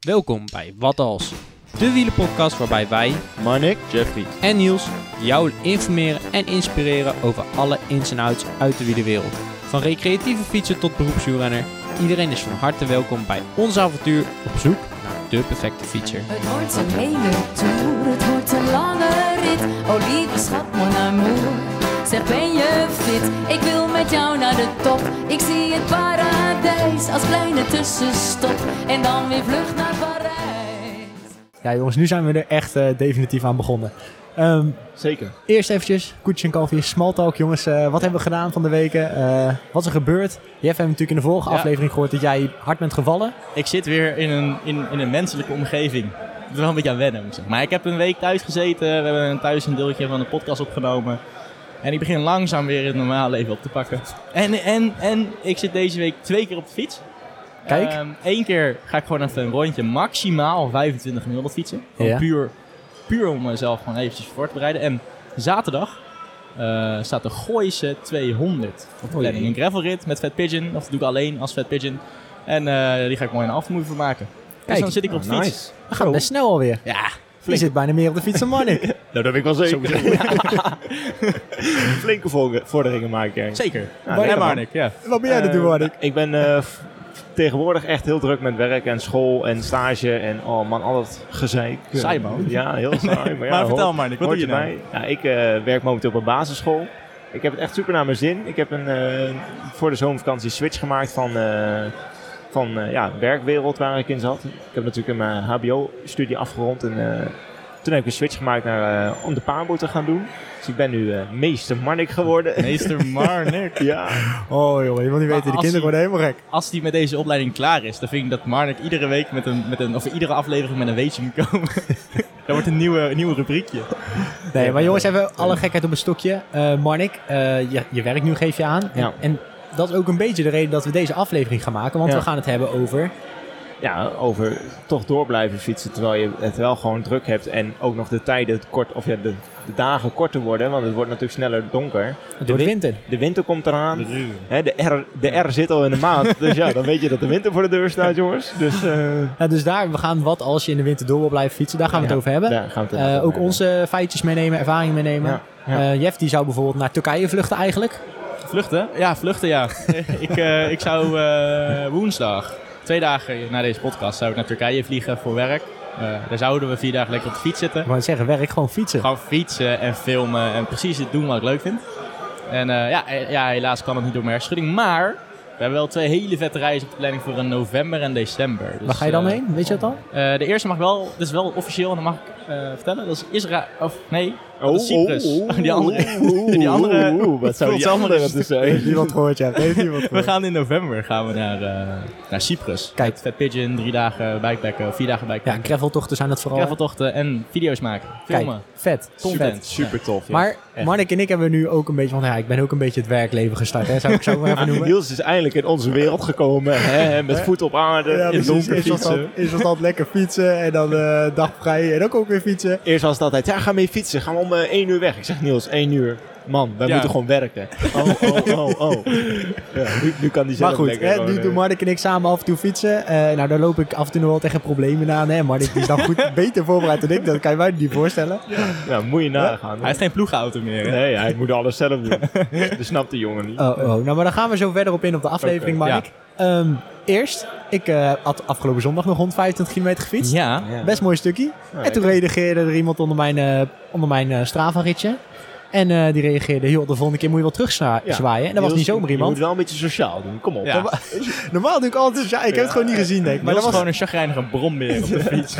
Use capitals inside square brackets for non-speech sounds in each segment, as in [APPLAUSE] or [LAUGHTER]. Welkom bij Wat Als, de wielenpodcast waarbij wij Marnik, Jeffrey. en Niels jou informeren en inspireren over alle ins en outs uit de wielerwereld. Van recreatieve fietsen tot beroepswielrenner, iedereen is van harte welkom bij ons avontuur op zoek naar de perfecte fietser. Het wordt een hele toer, het wordt een lange rit. Oh lieve schat, mon amour, zeg ben je fit? Ik wil met jou naar de top, ik zie het paradijs als kleine tussenstop. En dan weer vlug naar Parijs. Ja, jongens, nu zijn we er echt eh, definitief aan begonnen. Ehm, Zeker. eerst eventjes, Koetje en Kalfje, small talk, jongens. eh, wat hebben we gedaan van de weken? Eh, wat is er gebeurd? Jeff hebben we natuurlijk in de vorige Ja. aflevering gehoord dat jij hard bent gevallen. Ik zit weer in een, in, in een menselijke omgeving. Ik moet er wel een beetje aan wennen, moet ik zeggen. Maar ik heb een week thuis gezeten. We hebben thuis een deeltje van de podcast opgenomen. En ik begin langzaam weer het normale leven op te pakken. En, en, en ik zit deze week twee keer op de fiets. Kijk. Eén Ehm, keer ga ik gewoon even een rondje maximaal 25 gemiddeld fietsen. Gewoon Ja. puur, puur om mezelf gewoon eventjes voor te bereiden. En zaterdag eh, staat de Gooise 200 op de Oei. planning. Een gravelrit met Fat Pigeon. Of dat doe ik alleen als Fat Pigeon. En eh, die ga ik mooi een afmoei van maken. dus Kijk. dan zit ik op de Oh, fiets. nice. We gaan best snel alweer. Ja, Je zit bijna meer op de fiets dan Marnik. Nou, dat ben ik wel zeker. [LAUGHS] Flinke vor- vorderingen maak ik eigenlijk. zeker. Nou, en lekker, Marnik, ja. [LAUGHS] wat ben jij aan het doen, Eh, Marnik? Ik ben eh, f- tegenwoordig echt heel druk met werk en school en stage en oh man, al dat gezeik. Saai, man. Ja, heel [LAUGHS] saai. maar ja, maar vertel hoort- Marnik, wat hoort doe je nou? erbij. Ja, ik eh, werk momenteel op een basisschool. Ik heb het echt super naar mijn zin. Ik heb een, eh, voor de zomervakantie switch gemaakt van, eh, van eh, ja, werkwereld waar ik in zat. Ik heb natuurlijk mijn hbo-studie afgerond en eh, toen heb ik een switch gemaakt naar, eh, om de paarboer te gaan doen. Dus ik ben nu eh, meester Marnik geworden. nou? Meester Marnik. [LAUGHS] ja. Oh, jongen, je wil niet weten, de als kinderen hij- worden helemaal gek. Als die met deze opleiding klaar is, dan vind ik dat Marnik iedere week met een, met een of iedere aflevering met een weetje moet komen. dat wordt een nieuwe, een nieuwe rubriekje. Nee, maar jongens, even alle gekheid op een stokje. Eh Marnik, eh, je, je werk nu geef je aan. En, Ja. en dat is ook een beetje de reden dat we deze aflevering gaan maken. Want Ja. we gaan het hebben over... ja, over toch door blijven fietsen terwijl je het wel gewoon druk hebt en ook nog de tijden kort, of ja, de, de dagen korter worden, want het wordt natuurlijk sneller donker. Door de win- winter. De winter komt eraan. Hè, de, R, de R zit al in de maand, dus ja, dan weet je dat de winter voor de deur staat, jongens. Dus eh, Nou, dus daar, we gaan wat als je in de winter door wil blijven fietsen, daar gaan we het Ja, over hebben. daar gaan we het Eh, over ook hebben. onze feitjes meenemen, ervaringen meenemen. Ja, ja. Eh, Jeff die zou bijvoorbeeld naar Turkije vluchten eigenlijk. Vluchten? Ja, vluchten ja. ik, eh, ik zou eh, woensdag, twee dagen na deze podcast, zou ik naar Turkije vliegen voor werk. Eh, daar zouden we vier dagen lekker op de fiets zitten. Ik wou zeggen, werk gewoon fietsen. Gewoon fietsen en filmen en precies het doen wat ik leuk vind. En eh, ja, eh, ja, helaas kan het niet door mijn hersenschudding, maar we hebben wel twee hele vette reizen op de planning voor in november en december. Dus, Waar ga je dan eh, heen? Weet je dat al? Eh, de eerste mag wel, dat is wel officieel en dat mag ik eh, vertellen. Dat is Israël, of nee, Oh, dat is Cyprus. [LAUGHS] die andere. die andere- oeh, oeh, oh, wat [LAUGHS] zou Vult die allemaal andere eens. te zijn? [LAUGHS] niemand gehoord, Jeff. Heeft niemand We gaan in november gaan we naar, eh, naar Cyprus. Kijk. Met Fat Pigeon, drie dagen bikepacken, vier dagen Ja, bikepacken. graveltochten zijn dat vooral. Graveltochten en video's maken, Kijk, filmen, vet. content. Super tof. ja. Maar echt. Marnik en ik hebben nu ook een beetje, want ja, ik ben ook een beetje het werkleven gestart, hè, zou ik [LAUGHS] zo maar even noemen. Niels is eindelijk in onze wereld gekomen, hè, met voet op aarde, in het donker fietsen. is lekker fietsen en dan eh, dag vrij en ook ook weer fietsen. Eerst was het altijd, ja, ga mee fietsen. Gaan we om eh, één uur weg. Ik zeg, Niels, één uur. Man, wij Ja. moeten gewoon werken. Oh, oh, oh, oh. Ja, nu, nu kan die zelf Maar goed, lekker hè, gewoon, nu eh, doen Marnik en ik samen af en toe fietsen. Eh, nou, daar loop ik af en toe nog wel tegen problemen aan. Hè. Marnik die is dan [LAUGHS] goed, beter voorbereid dan ik. Dat kan je mij niet voorstellen. Ja, moet je nagaan. Hij heeft geen ploegauto meer. hè? Nee, hij moet alles zelf doen. Dat snapt de jongen niet. Oh, oh. Nou, maar daar gaan we zo verder op in op de aflevering, Oké, Marnik. Ehm, eerst, ik eh, had afgelopen zondag nog 125 kilometer gefietst. Ja, Ja. Best mooi stukje. en toen reageerde er iemand onder mijn, eh, onder mijn eh, Strava-ritje. En eh, die reageerde, joh, de volgende keer moet je wel terugzwaaien. Ja. zwaaien. En dat was Niels, niet zomaar Je iemand. moet wel een beetje sociaal doen. Kom op. Ja. Dat Normaal doe ik altijd, ja, ik heb het gewoon niet gezien, denk ik. maar Maar dat was dat was, gewoon een chagrijnige brombeer [LAUGHS] op de fiets.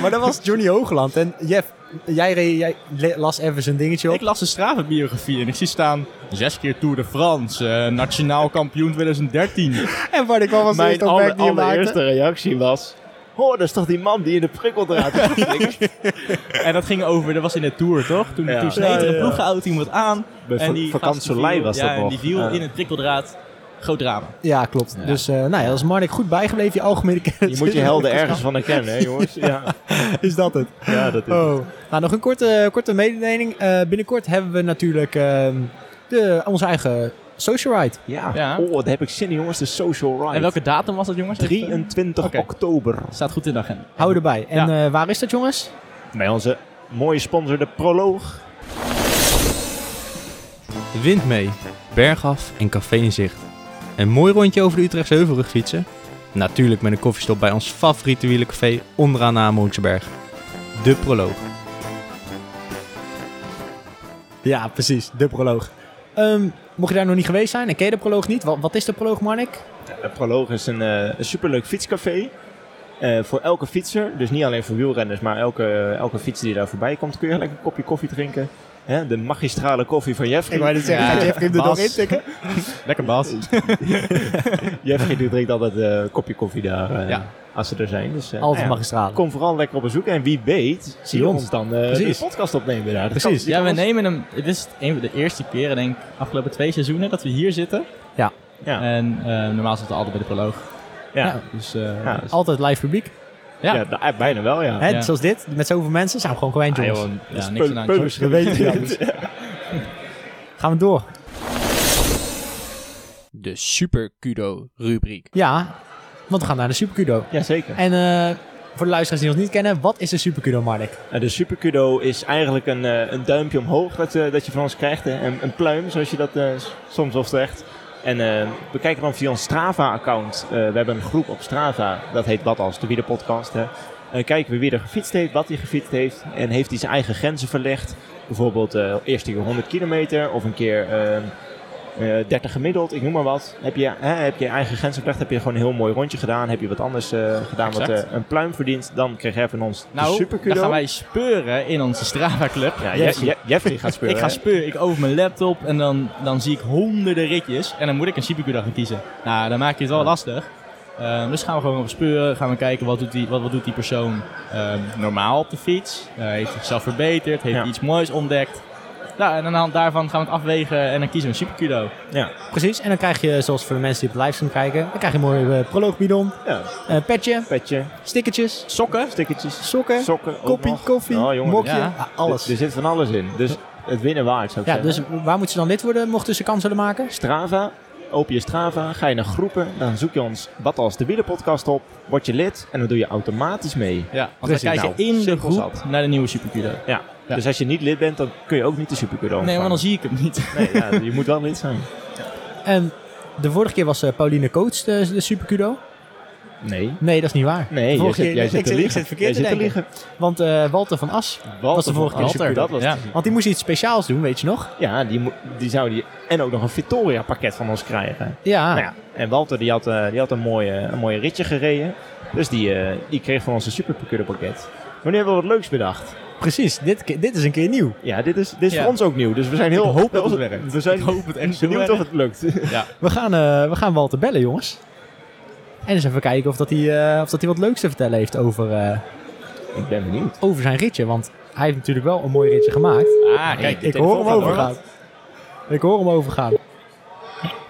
maar dat was Johnny Hoogland. En Jeff, jij, re- jij le- las even zijn dingetje op. Ik las de Stravenbiografie en ik zie staan zes keer Tour de France, eh, nationaal kampioen 2013. En Marnik, wat was was de Mijn eerste aller, opmerking die je maakte? allereerste reactie was... Oh, dat is toch die man die in de prikkeldraad gaat en dat ging over, dat was in de Tour toch? Toen, Ja. toen sneed er Ja, een ja. ploegauto iemand aan. [LAUGHS] Bij en Va- die Vakant gast die Soleil viel- was ja, dat en nog. die viel Ja. in het prikkeldraad. Groot drama. Ja, klopt. Dus eh, nou ja, dat is Marnik goed bijgebleven. Je algemene kennis Je moet je is- [LAUGHS] helden ergens van herkennen, hè jongens. Ja, [LAUGHS] Is dat het? ja dat is Oh. Nou, nog een korte, korte mededeling. Eh, binnenkort hebben we natuurlijk ehm, de, onze eigen Social Ride. Ja. Ja. Oh, wat heb ik zin in, jongens. De Social Ride. En welke datum was dat, jongens? 23 Oké. oktober. Staat goed in de agenda. Hou erbij. En eh, waar is dat, jongens? Bij onze mooie sponsor, de Proloog. De wind mee, bergaf en café in zicht. Een mooi rondje over de Utrechtse Heuvelrug fietsen? Natuurlijk met een koffiestop bij ons favoriete wielencafé onderaan de Amoringsberg. De proloog. Ja, precies. De proloog. Ehm, mocht je daar nog niet geweest zijn en ken je de proloog niet, wat, wat is de proloog, Marnik? De Proloog is een, eh, een superleuk fietscafé. eh, voor elke fietser, dus niet alleen voor wielrenners, maar elke, eh, elke fietser die daar voorbij komt, kun je lekker een kopje koffie drinken. Hè, de magistrale koffie van Jeffrey. dit zeggen, gaat Jeffrey er nog intikken? dus- Lekker, Bas. [LAUGHS] Jeffrey die drinkt altijd eh, een kopje koffie daar, eh, Ja. als ze er zijn. Dus, eh, [LAUGHS] Altijd nou ja, magistrale. Kom vooral lekker op bezoek en wie weet, zie je ons. ons dan eh, Precies. de podcast opnemen daar. Dat Precies. kan- Ja, we kan ons- nemen hem. Dit is een van de eerste keren, denk ik, afgelopen twee seizoenen dat we hier zitten. Ja. Ja. En eh, normaal zitten we altijd bij de proloog. Ja. Dus eh, Ja. dus- Altijd live publiek. Ja, Ja. nou, eh, bijna wel, ja. Hè, Ja. Zoals dit, met zoveel mensen, zijn we gewoon gewend, ah, jongens. joh, ja, Peu- niks aan de hand, hoor. peubers- We [LAUGHS] weten het. Gaan we door. De super kudo rubriek. Ja, want we gaan naar de Supercudo. Jazeker. En eh, voor de luisteraars die ons niet kennen, wat is de Supercudo, Marnik? Eh, De superkudo is eigenlijk een, eh, een duimpje omhoog dat, eh, dat je van ons krijgt. hè. Een, een pluim, zoals je dat eh, s- soms wel zegt. En eh, we kijken dan via ons Strava-account. Eh, we hebben een groep op Strava, dat heet Wat Als, de Wieder Podcast. Hè. En dan kijken we wie er gefietst heeft, wat hij gefietst heeft. En heeft hij zijn eigen grenzen verlegd. Bijvoorbeeld eh, eerst een keer 100 kilometer of een keer eh, eh, 30 gemiddeld, ik noem maar wat. Heb je, hè, heb je eigen grenzen verlegd, heb je gewoon een heel mooi rondje gedaan. Heb je wat anders eh, gedaan wat Exact. eh, een pluim verdient, dan krijg jij van ons de Nou, superkudo. dan gaan wij speuren in onze Strava Club. Ja, Jeff- Je- Jeffrey gaat spelen. Ik ga speuren, ik over mijn laptop en dan, dan zie ik honderden ritjes. En dan moet ik een Supercuda gaan kiezen. Nou, dan maak je het wel lastig. Ehm, dus gaan we gewoon op speuren, gaan we kijken wat doet die, wat, wat doet die persoon ehm, normaal op de fiets. Eh, heeft hij zichzelf verbeterd, heeft hij Ja. iets moois ontdekt. Nou, en aan de hand daarvan gaan we het afwegen en dan kiezen we een Supercudo. Precies, en dan krijg je, zoals voor de mensen die op de livestream kijken, dan krijg je een mooie eh, proloogbidon, Ja, eh, petje, petje, stickertjes, Sokken? stickertjes, sokken, sokken, ook koppie, nog. koffie, Oh, jongen, mokje, ja. ah, alles. Er, er zit van alles in. Dus het winnen waard zou ik ja, zeggen. dus waar moeten ze dan lid worden, mochten ze kans willen maken? Strava, open je Strava, ga je naar groepen, dan zoek je ons Wat als de wielerpodcast op, word je lid en dan doe je automatisch mee. Ja, want Precies, we kijken nou, in de simpel groep zat. naar de nieuwe Supercudo. Ja. Ja. Dus als je niet lid bent, dan kun je ook niet de supercudo Nee, want dan ontvangen. zie ik hem niet. Nee, ja, je moet wel lid zijn. En Ehm, de vorige keer was eh, Pauline Coats de, de Supercudo. Nee. Nee, dat is niet waar. Nee, jij Vorige zit, keer- jij ik zit zit- te ik liegen. zit verkeerd jij te zit te denken. liegen. Want eh, Walter van As, Was de vorige keer Walter, Supercudo. Dat was Ja. want die moest iets speciaals doen, weet je nog? ja die, moet- die zou die... En ook nog een Victoria pakket van ons krijgen. Ah. Ja, Nou ja, en Walter die had, eh, die had een, mooie, een mooie ritje gereden. Dus die, eh, die kreeg van ons een superpakket. pakket. Maar nu hebben we wat leuks bedacht. precies. Dit, ke- dit is een keer nieuw. Ja, dit is, dit is Ja. voor ons ook nieuw. Dus we zijn heel Ik hoop dat het we- werkt. We zijn Ik hoop het echt zo benieuwd erg. of het lukt. [LAUGHS] We gaan, eh, we gaan Walter bellen, jongens. En eens even kijken of dat hij, eh, of dat hij wat leuks te vertellen heeft over, eh, ik ben benieuwd. over zijn ritje. Want hij heeft natuurlijk wel een mooi ritje gemaakt. Ah, kijk. de Ik telefoon hoor hem gaat door. overgaan. Ik hoor hem overgaan.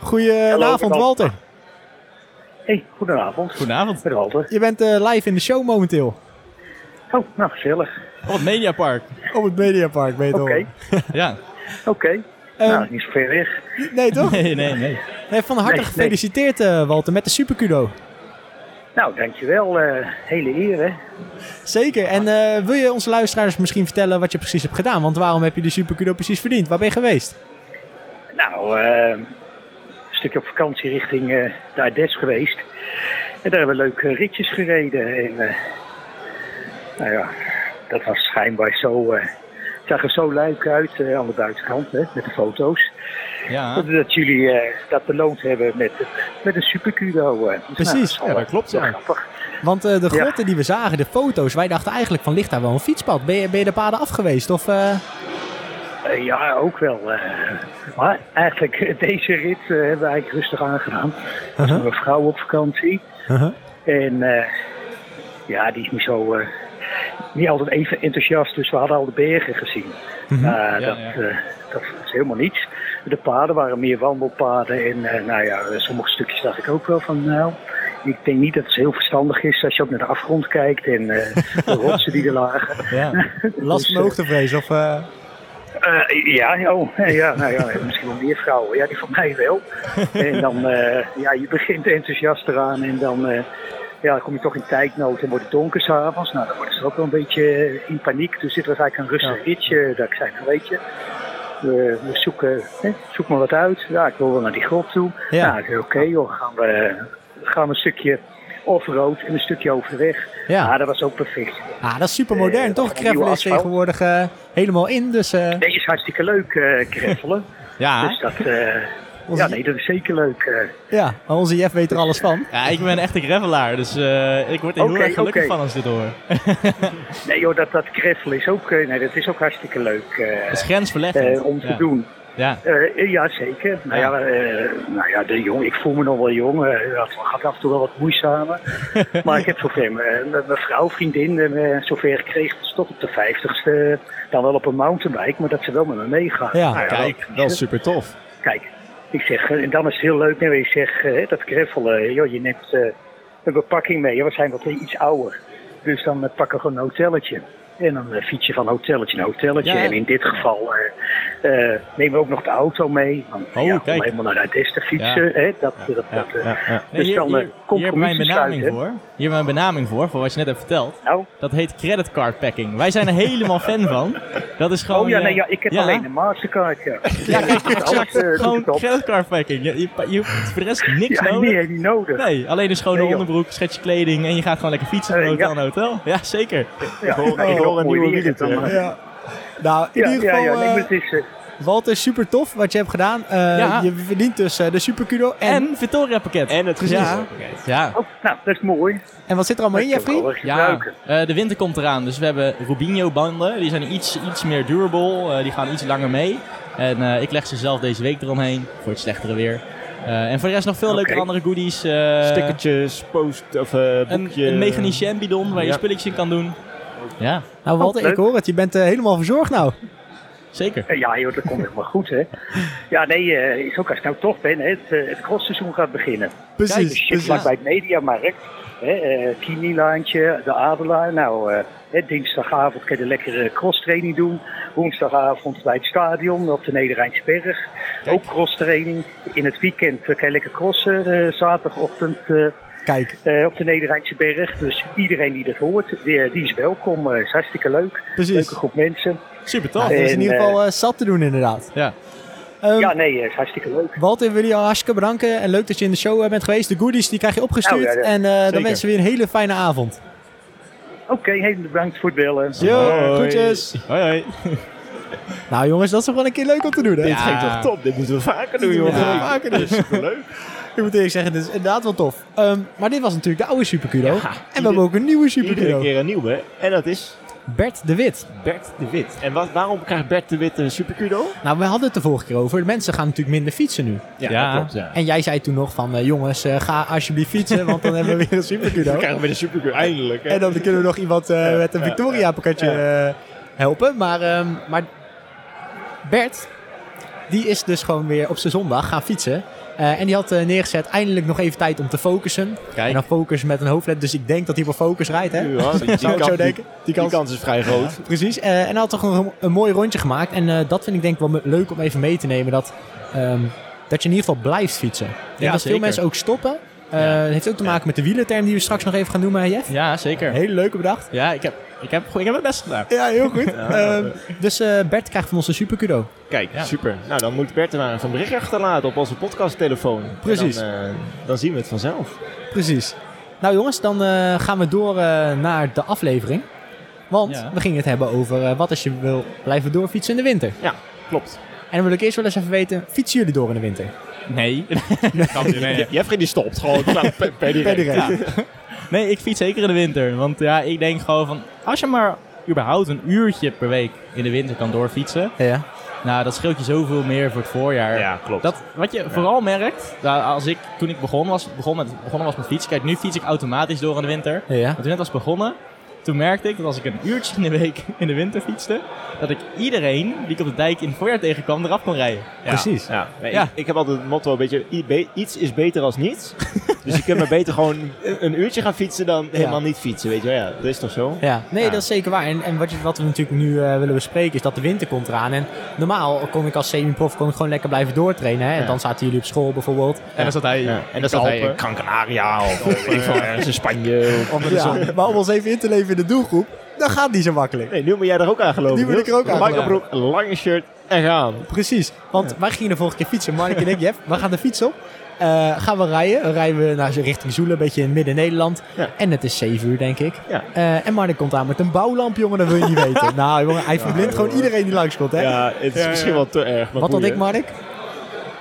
Goedenavond, Hallo, Walter. Hey, goedenavond. Goedenavond. Met Walter. Je bent eh, live in de show momenteel. Oh, nou gezellig. Op het Mediapark. Op het Mediapark, weet je Oké, wel. Ja. oké. Ehm. nou, niet zo ver weg. Nee, toch? Nee, nee, nee. Nee, van harte Nee, nee. gefeliciteerd, eh, Walter, met de Supercudo. Nou, dankjewel. eh hele eer, hè. Zeker. En eh, wil je onze luisteraars misschien vertellen wat je precies hebt gedaan? Want waarom heb je de Supercudo precies verdiend? Waar ben je geweest? Nou, eh, een stukje op vakantie richting eh de Ardes geweest. En daar hebben we leuke ritjes gereden. En, eh, nou ja, dat was schijnbaar zo... eh het zag er zo leuk uit eh, aan de buitenkant, hè, met de foto's. Ja. Dat, dat jullie eh, dat beloond hebben met, met een supercudo. eh. Dus, Precies. nou, is Ja, dat wel klopt, heel ja. grappig. Want eh, de Ja. grotten die we zagen, de foto's, wij dachten eigenlijk van ligt daar wel een fietspad? Ben je, ben je de paden af geweest? Of, eh, Eh, ja, ook wel. eh. maar eigenlijk, [LAUGHS] eh, deze rit eh, hebben we eigenlijk rustig aangedaan. Er is Mijn vrouw op vakantie. En eh, ja, die is niet zo... eh, niet altijd even enthousiast, dus we hadden al de bergen gezien. Maar Ja, dat, ja. eh, dat is helemaal niets. De paden waren meer wandelpaden. En eh, nou ja, eh, sommige stukjes dacht ik ook wel van... Nou, ik denk niet dat het heel verstandig is als je ook naar de afgrond kijkt en eh, de rotsen die er lagen. [LAUGHS] Ja. last van hoogtevrees? Of, eh, Eh, ja, oh, eh, ja, nou ja, misschien wel meer vrouwen. Ja, die van mij [LAUGHS] wel. En dan, eh, ja, je begint enthousiast eraan en dan, eh, ja, dan kom je toch in tijdnood en wordt het donker s'avonds. Nou, dan worden ze ook wel een beetje eh, in paniek. Dus dit was eigenlijk een rustig ritje. Dat ik zei, nou, weet je, we, we zoeken, hè, zoek maar wat uit. Ja, ik wil wel naar die grot toe. Ja. Nou, ik zei, oké joh, gaan we, gaan we een stukje offroad en een stukje overweg. Ja. Ah, dat was ook perfect. Ah, dat is super modern, Eh, toch? nieuwe Gravel is asfalt. tegenwoordig eh, helemaal in, dus... eh, Nee, is hartstikke leuk, eh kreffelen. [LAUGHS] Ja, Dus dat, eh, Onze- ja, nee, dat is zeker leuk. eh. Ja, maar onze Jeff weet er alles van. ja, ik ben echt een gravelaar, dus eh, ik word er heel Oké, erg gelukkig oké. van als ik dit hoor. nee, joh, dat, dat kreffelen is ook, eh, nee, dat is ook hartstikke leuk eh, Het is grensverleggend. eh, om te ja. doen. Ja. Eh, ja, zeker. Nou ja, eh, nou ja de jong, ik voel me nog wel jong. eh, dat gaat af en toe wel [LAUGHS] wat moeizamer. maar ik heb zover mijn eh, mijn- mijn vrouw, vriendin, eh, zover gekregen. Dus toch op de vijftigste. Dan wel op een mountainbike, maar dat ze wel met me meegaan. Ja, Nou kijk, Wel super tof. Kijk, ik zeg, eh, en dan is het heel leuk. Nee, ik zeg, eh, dat greffelen, joh, je neemt eh, een bepakking mee. Ja, we zijn wat iets ouder. Dus dan eh, pakken we gewoon een hotelletje. En dan eh, fiets je van hotelletje naar hotelletje. Ja. En in dit geval eh, eh, nemen we ook nog de auto mee. Want, Oh, ja, kijk. Om helemaal naar Des te fietsen. Hè, dat, dat, dat, eh, Nee, Dus hier, dan, hier, hier hebben eh, wij een compromissen benaming sluiten. voor. Hier hebben wij een benaming voor, voor wat je net hebt verteld. Nou, Dat heet creditcard packing. Wij zijn er [LAUGHS] helemaal fan van. Dat is gewoon... oh ja, eh, nee, ja, ik heb ja. alleen een Mastercard. Ja, Ja, kijk, alles, eh, doe gewoon ik op. creditcard packing. Je, je, pa- je hoeft voor de rest niks ja nodig. nee, heb je niet nodig. Nee, alleen een schone Nee, joh. onderbroek, schetje kleding en je gaat gewoon lekker fietsen van Eh, hotel ja. naar hotel. Ja, zeker. ja, hoor- en ik nog Nou, hoor een mooi nieuwe weer, dan, wielerterm. eh, Ja. Nou, in Ja, ieder ja, geval, ja, nee, eh, maar het is... eh, Walter, super tof wat je hebt gedaan. Eh, Ja. Je verdient dus eh, de Super Kudo. En, en, En Victoria pakket. En het gezin. ja. ja. oh, nou, dat is mooi. wat zit er allemaal in, Dat kan Jeffrey? wel erg Ja, gebruiken. eh, de winter komt eraan, dus we hebben Rubinho-banden. Die zijn iets, iets meer durable, eh, die gaan iets langer mee. En eh, ik leg ze zelf deze week eromheen, voor het slechtere weer. Eh, en voor de rest nog veel Oké. leuke andere goodies. eh, Stickertjes, post of eh een, boekje. een mechanische ambidon waar je Ja. spulletjes in kan doen. Ja, Nou, Walter, Oh, ik hoor het. Je bent eh, helemaal verzorgd nou. zeker. Eh, Ja, joh, dat komt helemaal goed, hè. Ja, nee, eh, is ook als ik nou toch ben, hè, het, eh, het crossseizoen gaat beginnen. Kijk, de Precies. shit vlak bij het mediamarkt. Hè, eh Kini-laantje, de Adelaar. Nou, eh, hè, dinsdagavond kun je de lekkere crosstraining doen. Woensdagavond bij het stadion op de Nederrijnsberg. Ook crosstraining. In het weekend eh, kan je lekker crossen. eh, zaterdagochtend eh, Kijk, eh, op de Nederrijnse Berg. Dus iedereen die dat hoort, die, eh, die is welkom. Het is hartstikke leuk. Leuke precies. groep mensen. Super Nou, tof. er is in En, ieder eh, geval eh, zat te doen, inderdaad. Ja. Ehm, Ja, nee, het is hartstikke leuk. Walter, we willen jou hartstikke bedanken. En leuk dat je in de show eh, bent geweest. De goodies die krijg je opgestuurd. Nou, ja, ja. En eh, dan wensen we je een hele fijne avond. Oké, heel bedankt voor het bellen. Yo, Hoi. groetjes. Hoi hoi. Nou jongens, dat is gewoon een keer leuk om te doen. Hè? Dit ging toch top? Dit moeten we vaker doen, joh. Ja, vaker doen. Superleuk. Ik moet eerlijk zeggen, dit is inderdaad wel tof. Ehm, maar dit was natuurlijk de oude Superkudo. en we hebben ook een nieuwe Iedere Superkudo. keer een nieuwe. hè? En dat is Bert de Wit. Bert de Wit. En wat, waarom krijgt Bert de Wit een superkudo? Nou, we hadden het de vorige keer over. De mensen gaan natuurlijk minder fietsen nu. Ja, Ja. dat klopt. Ja. En jij zei toen nog van, eh, jongens, eh, ga alsjeblieft fietsen, want dan hebben we weer een Dan [LAUGHS] Superkudo. krijgen we weer een superkudo, eindelijk. Hè? En dan kunnen we nog iemand eh, met een Victoria-pakketje eh, helpen. Maar, ehm, maar Bert, die is dus gewoon weer op zijn zondag gaan fietsen. Eh, en die had eh, neergezet, eindelijk nog even tijd om te focussen. En dan focus met een hoofdlet, dus ik denk dat hij op een focus rijdt, hè? Ja, die, Zou ik kans- zo denken? die- Die die kans. kans is vrij groot. Precies. eh, en hij had toch een, een mooi rondje gemaakt. En eh, dat vind ik denk ik wel me- leuk om even mee te nemen. Dat, ehm, dat je in ieder geval blijft fietsen. Ik denk Ja, dat veel zeker. mensen ook stoppen. Eh, Het heeft ook te maken met de wielerterm die we straks nog even gaan noemen, hè, Jeff? Ja, zeker. Hele leuke bedacht. Ja, ik heb, ik heb, ik heb mijn best gedaan. Ja, heel [LAUGHS] goed. Ehm, dus eh, Bert krijgt van ons een super kudo. Kijk, Ja. super. Nou, dan moet Bert er maar even een bericht achterlaten op onze podcasttelefoon. En Precies. Dan, eh, dan zien we het vanzelf. Precies. Nou jongens, dan eh, gaan we door eh, naar de aflevering. Want Ja. we gingen het hebben over eh, wat als je wil blijven doorfietsen in de winter. Ja, klopt. En dan wil ik eerst wel eens even weten, fietsen jullie door in de winter? Nee. Grapje, nee, nee. Jeffrey die stopt [LAUGHS] gewoon nou, per, per direct. Verder, hè? [LAUGHS] Nee, ik fiets zeker in de winter. Want ja, ik denk gewoon van... Als je maar überhaupt een uurtje per week in de winter kan doorfietsen... Ja. Nou, dat scheelt je zoveel meer voor het voorjaar. Ja, klopt. Dat, wat je vooral merkt, nou, als ik, toen ik begon was, begon met, begonnen was met fietsen... Kijk, nu fiets ik automatisch door in de winter. Ja. Maar toen net was begonnen, toen merkte ik dat als ik een uurtje in de week in de winter fietste... dat ik iedereen die ik op de dijk in het voorjaar tegenkwam eraf kon rijden. Ja. Precies. Ja. Nee, Ja. Ik, ik heb altijd het motto, een beetje, i- be- iets is beter als niets. [LAUGHS] Dus je kunt maar beter gewoon een- een uurtje gaan fietsen dan helemaal niet fietsen, weet je wel. Ja, dat is toch zo? Ja, nee, Ja. dat is zeker waar. En, en wat, je- wat we natuurlijk nu eh, willen bespreken is dat de winter komt eraan. En normaal kon ik als semi-prof kon ik gewoon lekker blijven doortrainen. Hè? En Ja. dan zaten jullie op school bijvoorbeeld. En dan zat hij Ja. en dan zat hij Alpen. in Gran Canaria of eh, weet ik veel, ergens in Spanje. Of, Onder de Ja, zon. [LAUGHS] maar om ons even in te leven in de doelgroep, dan gaat niet zo makkelijk. Nee, nu moet jij er ook aan geloven. Nu moet ik er Niels. ook aan Een microbroek, een lange shirt en gaan. Precies, want wij gingen de vorige keer fietsen. Mark en ik, Jeff, we gaan de fiets op. Eh, gaan we rijden. Dan rijden we naar richting Zoelen, een beetje in midden-Nederland. Ja. En het is 7 uur, denk ik. Ja. Eh, en Mark komt aan met een bouwlamp, jongen, dat wil je niet [LAUGHS] weten. Nou, jongen, hij verblindt gewoon iedereen die langskomt, hè? Ja, het is misschien wel te erg. Maar Wat had boeien. ik, Mark?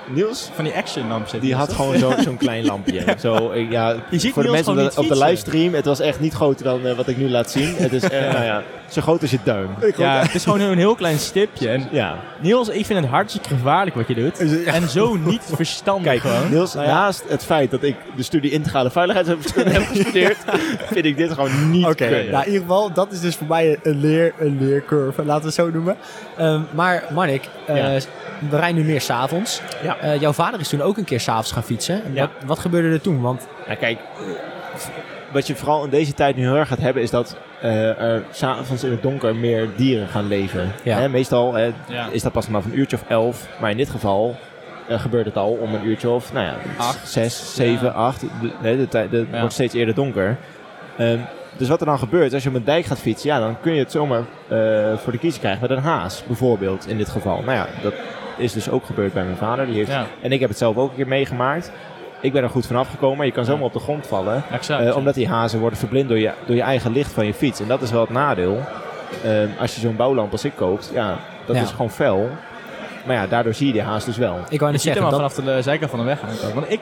Niels, van die action lamp zit. die had gewoon zo- zo'n klein lampje. Zo, ik- ja, Je ziet voor de Niels mensen op gewoon de, niet op de fietsen. livestream, het was echt niet groter dan eh, wat ik nu laat zien. Het is eh, nou ja, zo groot als je duim. Ja, het is gewoon een heel klein stipje. En Ja, Niels, ik vind het hartstikke gevaarlijk wat je doet. En zo niet verstandig kijk, gewoon. Niels, naast het feit dat ik de studie integrale veiligheid heb [LAUGHS] heb gestudeerd, vind ik dit gewoon niet Oké, kunnen. nou in ieder geval, dat is dus voor mij een leer, een leercurve, laten we het zo noemen. Ehm, maar Marnik, eh, Ja. we rijden nu meer s'avonds. Ja. Eh jouw vader is toen ook een keer s'avonds gaan fietsen. Ja. Wat, wat gebeurde er toen? Want Nou, kijk, eh, wat je vooral in deze tijd nu heel erg gaat hebben, is dat eh er s'avonds in het donker meer dieren gaan leven. Ja. Hè, meestal eh, Ja. is dat pas vanaf een uurtje of elf, maar in dit geval eh, gebeurt het al om een uurtje of, nou ja, Acht. zes, zeven, Ja. acht. De- hè, de tijd- de- Het Ja. wordt steeds eerder donker. Ehm, dus wat er dan gebeurt, als je op een dijk gaat fietsen, ja, dan kun je het zomaar eh, voor de kiezer krijgen met een haas, bijvoorbeeld, in dit geval. Nou ja, dat is dus ook gebeurd bij mijn vader. Die heeft, Ja. En ik heb het zelf ook een keer meegemaakt. Ik ben er goed vanaf gekomen, maar je kan zomaar op de grond vallen. Exact. Eh, ja. omdat die hazen worden verblind door je, door je eigen licht van je fiets. En dat is wel het nadeel. Ehm, als je zo'n bouwlamp als ik koopt, ja, dat Ja. is gewoon fel. Maar ja, daardoor zie je die haas dus wel. ik wou Je net ziet hem zeggen, al dat, vanaf de eh, zijkant van de weg aankomen. Want ik,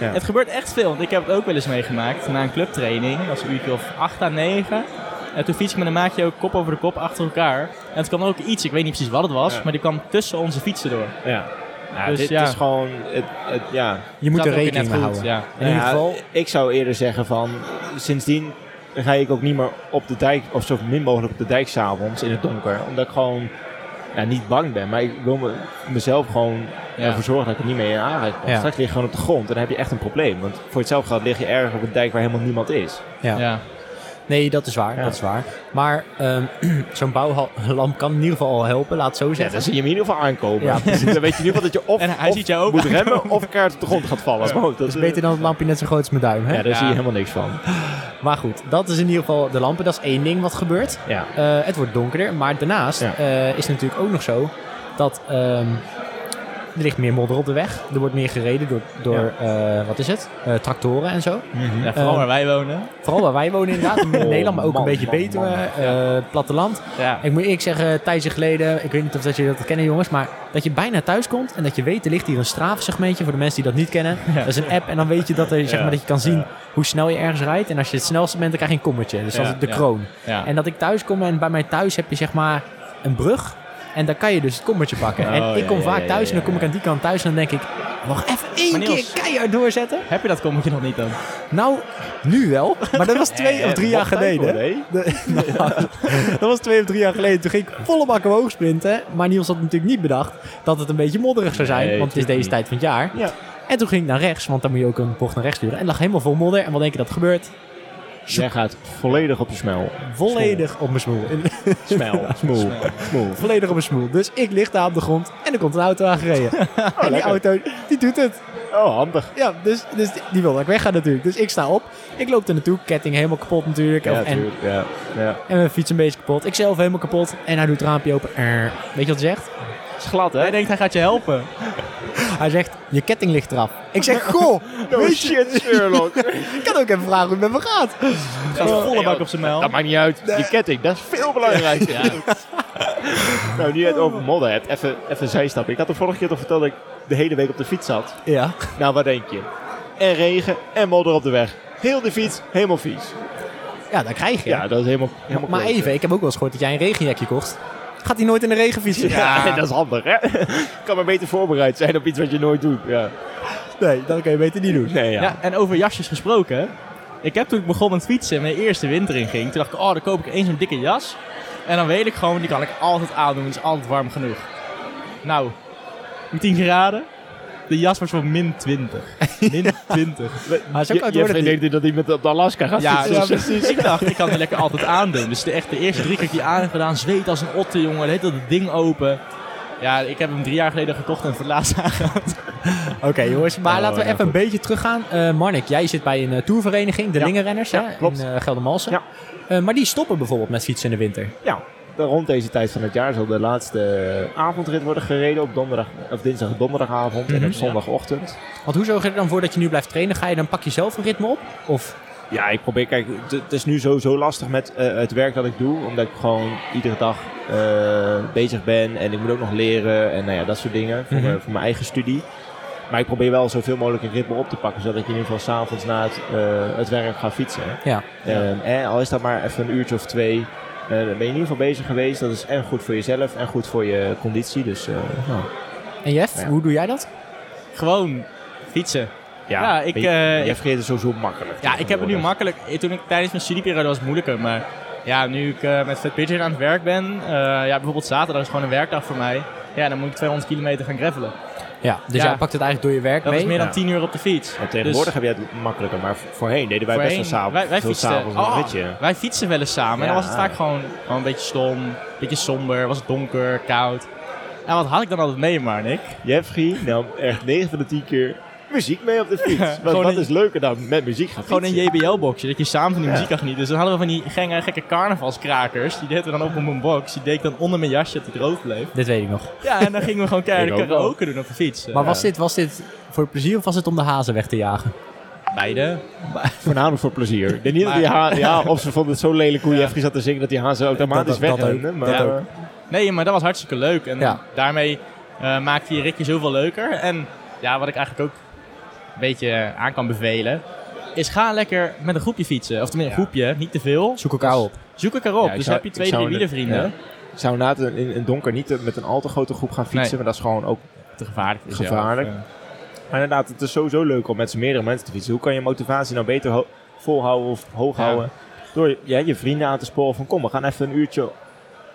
Ja. het gebeurt echt veel. Want ik heb het ook wel eens meegemaakt na een clubtraining. Dat was een uurtje of 8 à 9. En toen fiets ik met een maatje ook kop over de kop achter elkaar. En het kwam ook iets, ik weet niet precies wat het was, Ja. maar die kwam tussen onze fietsen door. Ja. Dus dit ja. is gewoon, het, het- ja. je moet Dat er ook weer rekening net mee goed, houden. In Ja. ieder Nou Ja, geval, Ik zou eerder zeggen van, sindsdien ga ik ook niet meer op de dijk, of zo min mogelijk op de dijk s'avonds in het donker. Omdat ik gewoon ja, niet bang ben, maar ik wil me, mezelf gewoon Ja. ervoor zorgen dat ik er niet mee in aanraking kom. Ja. Straks lig je gewoon op de grond en dan heb je echt een probleem. Want voor hetzelfde geld lig je ergens op een dijk waar helemaal niemand is. ja. Ja. Nee, dat is waar, Ja. dat is waar. Maar ehm, [CLEARS THROAT] zo'n bouwlamp kan in ieder geval al helpen, laat het zo Ja, zeggen. dan zie je hem in ieder geval aankomen. Ja, Dus [LAUGHS] dan weet je nu wel dat je of, En hij of ziet jou ook moet remmen of kaart op de grond gaat vallen. Maar goed, dat, dat is beter dan het lampje net zo groot als mijn duim, hè? Ja, daar zie Ja. je helemaal niks van. Maar goed, dat is in ieder geval de lampen. Dat is één ding wat gebeurt. Ja. Eh, het wordt donkerder. Maar daarnaast Ja. eh, is het natuurlijk ook nog zo dat ehm, er ligt meer modder op de weg. Er wordt meer gereden door, door eh, wat is het? Eh, tractoren en zo. Ja, vooral Eh, waar wij wonen. Vooral waar wij wonen inderdaad. In [LAUGHS] Oh, Nederland, maar ook man, een beetje man, beter. man. eh, platteland. Ja. Ik moet eerlijk zeggen, tijdje geleden, ik weet niet of dat jullie dat kennen jongens, maar dat je bijna thuis komt en dat je weet, er ligt hier een strafsegmentje voor de mensen die dat niet kennen. Dat is een app en dan weet je dat, er, zeg maar, dat je kan zien hoe snel je ergens rijdt. En als je het snelste bent, dan krijg je een kommetje. Dus dat Ja, is de ja. kroon. Ja. En dat ik thuis kom en bij mij thuis heb je zeg maar een brug. En daar kan je dus het kommetje pakken. Oh, en ik ja, kom ja, vaak ja, thuis ja, en dan kom ja. ik aan die kant thuis en dan denk ik... Nog even één Maar keer Niels- keihard doorzetten. Heb je dat kommetje nog niet dan? Nou, nu wel. Maar dat was [LAUGHS] twee of drie jaar geleden. hè. De- nou, [LAUGHS] dat was twee of drie jaar geleden. Toen ging ik volle bak omhoog sprinten. Maar Niels had natuurlijk niet bedacht dat het een beetje modderig zou zijn. Nee, want het is tuurlijk deze niet. tijd van het jaar. Ja. En toen ging ik naar rechts, want dan moet je ook een bocht naar rechts duren. En het lag helemaal vol modder. En wat denk je dat er gebeurt? Jij gaat volledig op je smel. Volledig op mijn smoel. In- [LAUGHS] Smel. Smoel. Smoel. Volledig op mijn smoel. Dus ik lig daar op de grond en er komt een auto aangereden. [LAUGHS] en die Oh, lekker. auto, die doet het. Oh, handig. Ja, dus, dus die- die wil dat ik wegga natuurlijk. Dus ik sta op. Ik loop er naartoe. Ketting helemaal kapot natuurlijk. Ja, en, tuurlijk. Ja, ja. en mijn fiets een beetje kapot. Ik zelf helemaal kapot. En hij doet het raampje open. Er. Weet je wat hij zegt? is glad, Hij denkt hij gaat je helpen. Hij zegt, je ketting ligt eraf. Ik zeg, goh, Oh weet je, shit, [LAUGHS] Sherlock. ik kan ook even vragen hoe het met me gaat. Gaat volle bak op zijn mijl. Dat maakt niet uit. Je ketting, dat is veel belangrijker. [LAUGHS] nou, nu je het over modder hebt, even, even een zijstap. Ik had de vorige keer toch verteld dat ik de hele week op de fiets zat. Ja, Nou, wat denk je? En regen en modder op de weg. Heel de fiets, helemaal vies. ja dat krijg je. Ja, dat is helemaal, helemaal maar kloten. even, ik heb ook wel eens gehoord dat jij een regenjekje kocht. Gaat hij nooit in de regen [LAUGHS] fietsen? Ja, dat is handig, hè? [LAUGHS] kan maar beter voorbereid zijn op iets wat je nooit doet. Ja. Nee, dat kan je beter niet doen. Nee, ja. Ja. en over jasjes gesproken. Ik heb toen ik begon met fietsen en mijn eerste winter inging, toen dacht ik, oh, dan koop ik eens een dikke jas. En dan weet ik gewoon, die kan ik altijd aandoen, die is altijd warm genoeg. Nou, met 10 graden, de jas was van min 20. Min 20. Maar zo kan het worden. die- idee dat hij met op de Alaska gaat Ja, zitten. ja, precies. Ik dacht, ik kan die lekker altijd aandoen. Dus de, echt de eerste drie keer die aan heb gedaan, zweet als een otter, jongen. Heet dat het ding open. Ja, ik heb hem drie jaar geleden gekocht en voor het laatst [LAUGHS] aangehad. Oké jongens, maar Oh, laten we even een beetje teruggaan. Eh Marnik, jij zit bij een eh, tourvereniging, de Ja. Lingenrenners Ja, hè, in klopt. eh Geldermalsen. Ja. Eh, maar die stoppen bijvoorbeeld met fietsen in de winter. Ja, dan rond deze tijd van het jaar zal de laatste eh, avondrit worden gereden op donderdag, of dinsdag en donderdagavond Mhm, en op zondagochtend. Want hoe zorg je er dan voor dat je nu blijft trainen? Ga je dan pak je zelf een ritme op? Of Ja, ik probeer, kijk, het- het is nu sowieso lastig met eh, het werk dat ik doe, omdat ik gewoon iedere dag eh, bezig ben en ik moet ook nog leren en nou ja, dat soort dingen voor, Mhm. mijn, voor mijn eigen studie. Maar ik probeer wel zoveel mogelijk een ritme op te pakken, zodat ik in ieder geval s'avonds na het, eh, het werk ga fietsen. ja, Ehm, hè, al is dat maar even een uurtje of twee. eh, dan ben je in ieder geval bezig geweest. Dat is en goed voor jezelf en goed voor je conditie. Dus eh, nou, en Jeff, Ja. hoe doe jij dat? Gewoon fietsen. ja, Ja, ik, weet je, eh, je vergeet het sowieso makkelijk. Ja, ik heb het nu makkelijk. Eh, Toen ik tijdens mijn studieperiode was het moeilijker. Maar ja, nu ik eh, met Fat Pigeon aan het werk ben. eh, ja, bijvoorbeeld zaterdag is gewoon een werkdag voor mij. Ja, dan moet ik 200 kilometer gaan gravelen. Ja, dus Ja. jij pakt het eigenlijk door je werk Dat mee. is meer dan Ja. 10 uur op de fiets. En Dus- tegenwoordig heb je het makkelijker, maar v- voorheen deden wij Voorheen, best wel s'avonds. Wij, wij veel fietsten. s'avonds Oh, een ritje. Wij fietsen wel eens samen. En dan Ja. was het vaak gewoon, gewoon een beetje stom, een beetje somber, was het donker, koud. En wat had ik dan altijd mee, Marnik? Jeffrey nam echt 9 van de 10 keer muziek mee op de [LAUGHS] fiets. Want Gewoon wat een- is leuker dan met muziek gaan Gewoon een fietsen? JBL-boxje, dat je samen van die Ja. muziek kan genieten. Dus dan hadden we van die genge, gekke carnavalskrakers. Die deden we dan op op een box. Die deed ik dan onder mijn jasje dat het rood bleef. Dit weet ik nog. Ja, en dan gingen we gewoon Ik keihard ook wel. karaoke doen op de fiets. Maar Eh, was dit, was dit voor plezier of was het om de hazen weg te jagen? Beide. Voornamelijk voor plezier. [LAUGHS] Ik denk niet dat Maar- die haan, ja, of ze vonden het zo lelijk hoe Jeffrey zat te zingen dat die haan ze automatisch Dat- dat- dat wegrenden. ook. Maar Dat eh, ook. Nee, maar dat was hartstikke leuk. En Ja. daarmee eh maakte je ritje zoveel leuker. En ja, wat ik eigenlijk ook een beetje eh, aan kan bevelen... is ga lekker met een groepje fietsen. Of tenminste, een groepje, niet te veel. Zoek elkaar op. Zoek elkaar op. Ja, ik dus zou- heb je ik twee, zou drie in de- wielenvrienden. Ik zou inderdaad in, in het donker niet eh, met een al te grote groep gaan fietsen, Nee. maar dat is gewoon ook... Te gevaarlijk. voor Gevaarlijk. jezelf, eh. Maar inderdaad, het is sowieso leuk om met z'n meerdere mensen te fietsen. Hoe kan je motivatie nou beter ho- volhouden of hoog Ja. houden? Door ja, je vrienden aan te sporen van kom, we gaan even een uurtje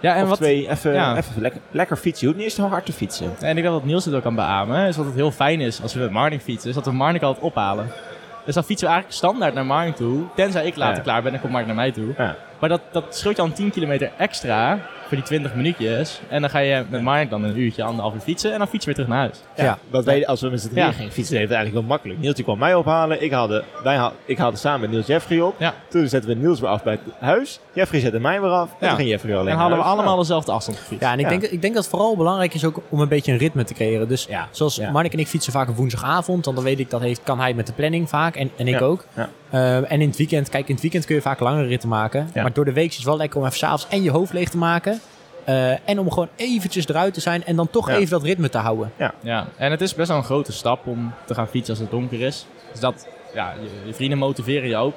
Ja, en of wat... twee, even, ja. even lekker, lekker fietsen. Je hoeft niet eens zo hard te fietsen. En ik denk dat Niels het ook kan beamen. Is dat het heel fijn is als we met Marnik fietsen. Is dat we Marnik altijd ophalen. Dus dan fietsen we eigenlijk standaard naar Marnik toe. Tenzij ik later Ja. klaar ben, dan komt Marnik naar mij toe. Ja. Maar dat, dat scheelt je al een 10 kilometer extra voor die 20 minuutjes. En dan ga je met Marnik dan een uurtje, anderhalf uur fietsen. En dan fietsen we weer terug naar huis. Ja. Want wij, als we met z'n drieën Ja. gingen fietsen, deed het eigenlijk wel makkelijk. Niels die kwam mij ophalen. Ik haalde, wij haal, ik haalde samen met Niels Jeffrey op. Ja. Toen zetten we Niels weer af bij het huis. Jeffrey zette mij weer af. En Ja. toen ging Jeffrey weer alleen en hadden we naar huis. allemaal dezelfde afstand gefietst. Ja, en ik, Ja. Denk, ik denk dat het vooral belangrijk is ook om een beetje een ritme te creëren. Dus Ja. zoals Ja. Marnik en ik fietsen vaak op woensdagavond, want dan weet ik dat heeft, kan hij met de planning vaak en, en ik Ja. ook. Ja. Eh, en in het weekend, kijk, in het weekend kun je vaak langere ritten maken. Ja. Maar door de week is het wel lekker om even s'avonds en je hoofd leeg te maken. eh, en om gewoon eventjes eruit te zijn en dan toch Ja. even dat ritme te houden. Ja, en het is best wel een grote stap om te gaan fietsen als het donker is. Dus dat, ja, je, je vrienden motiveren je ook.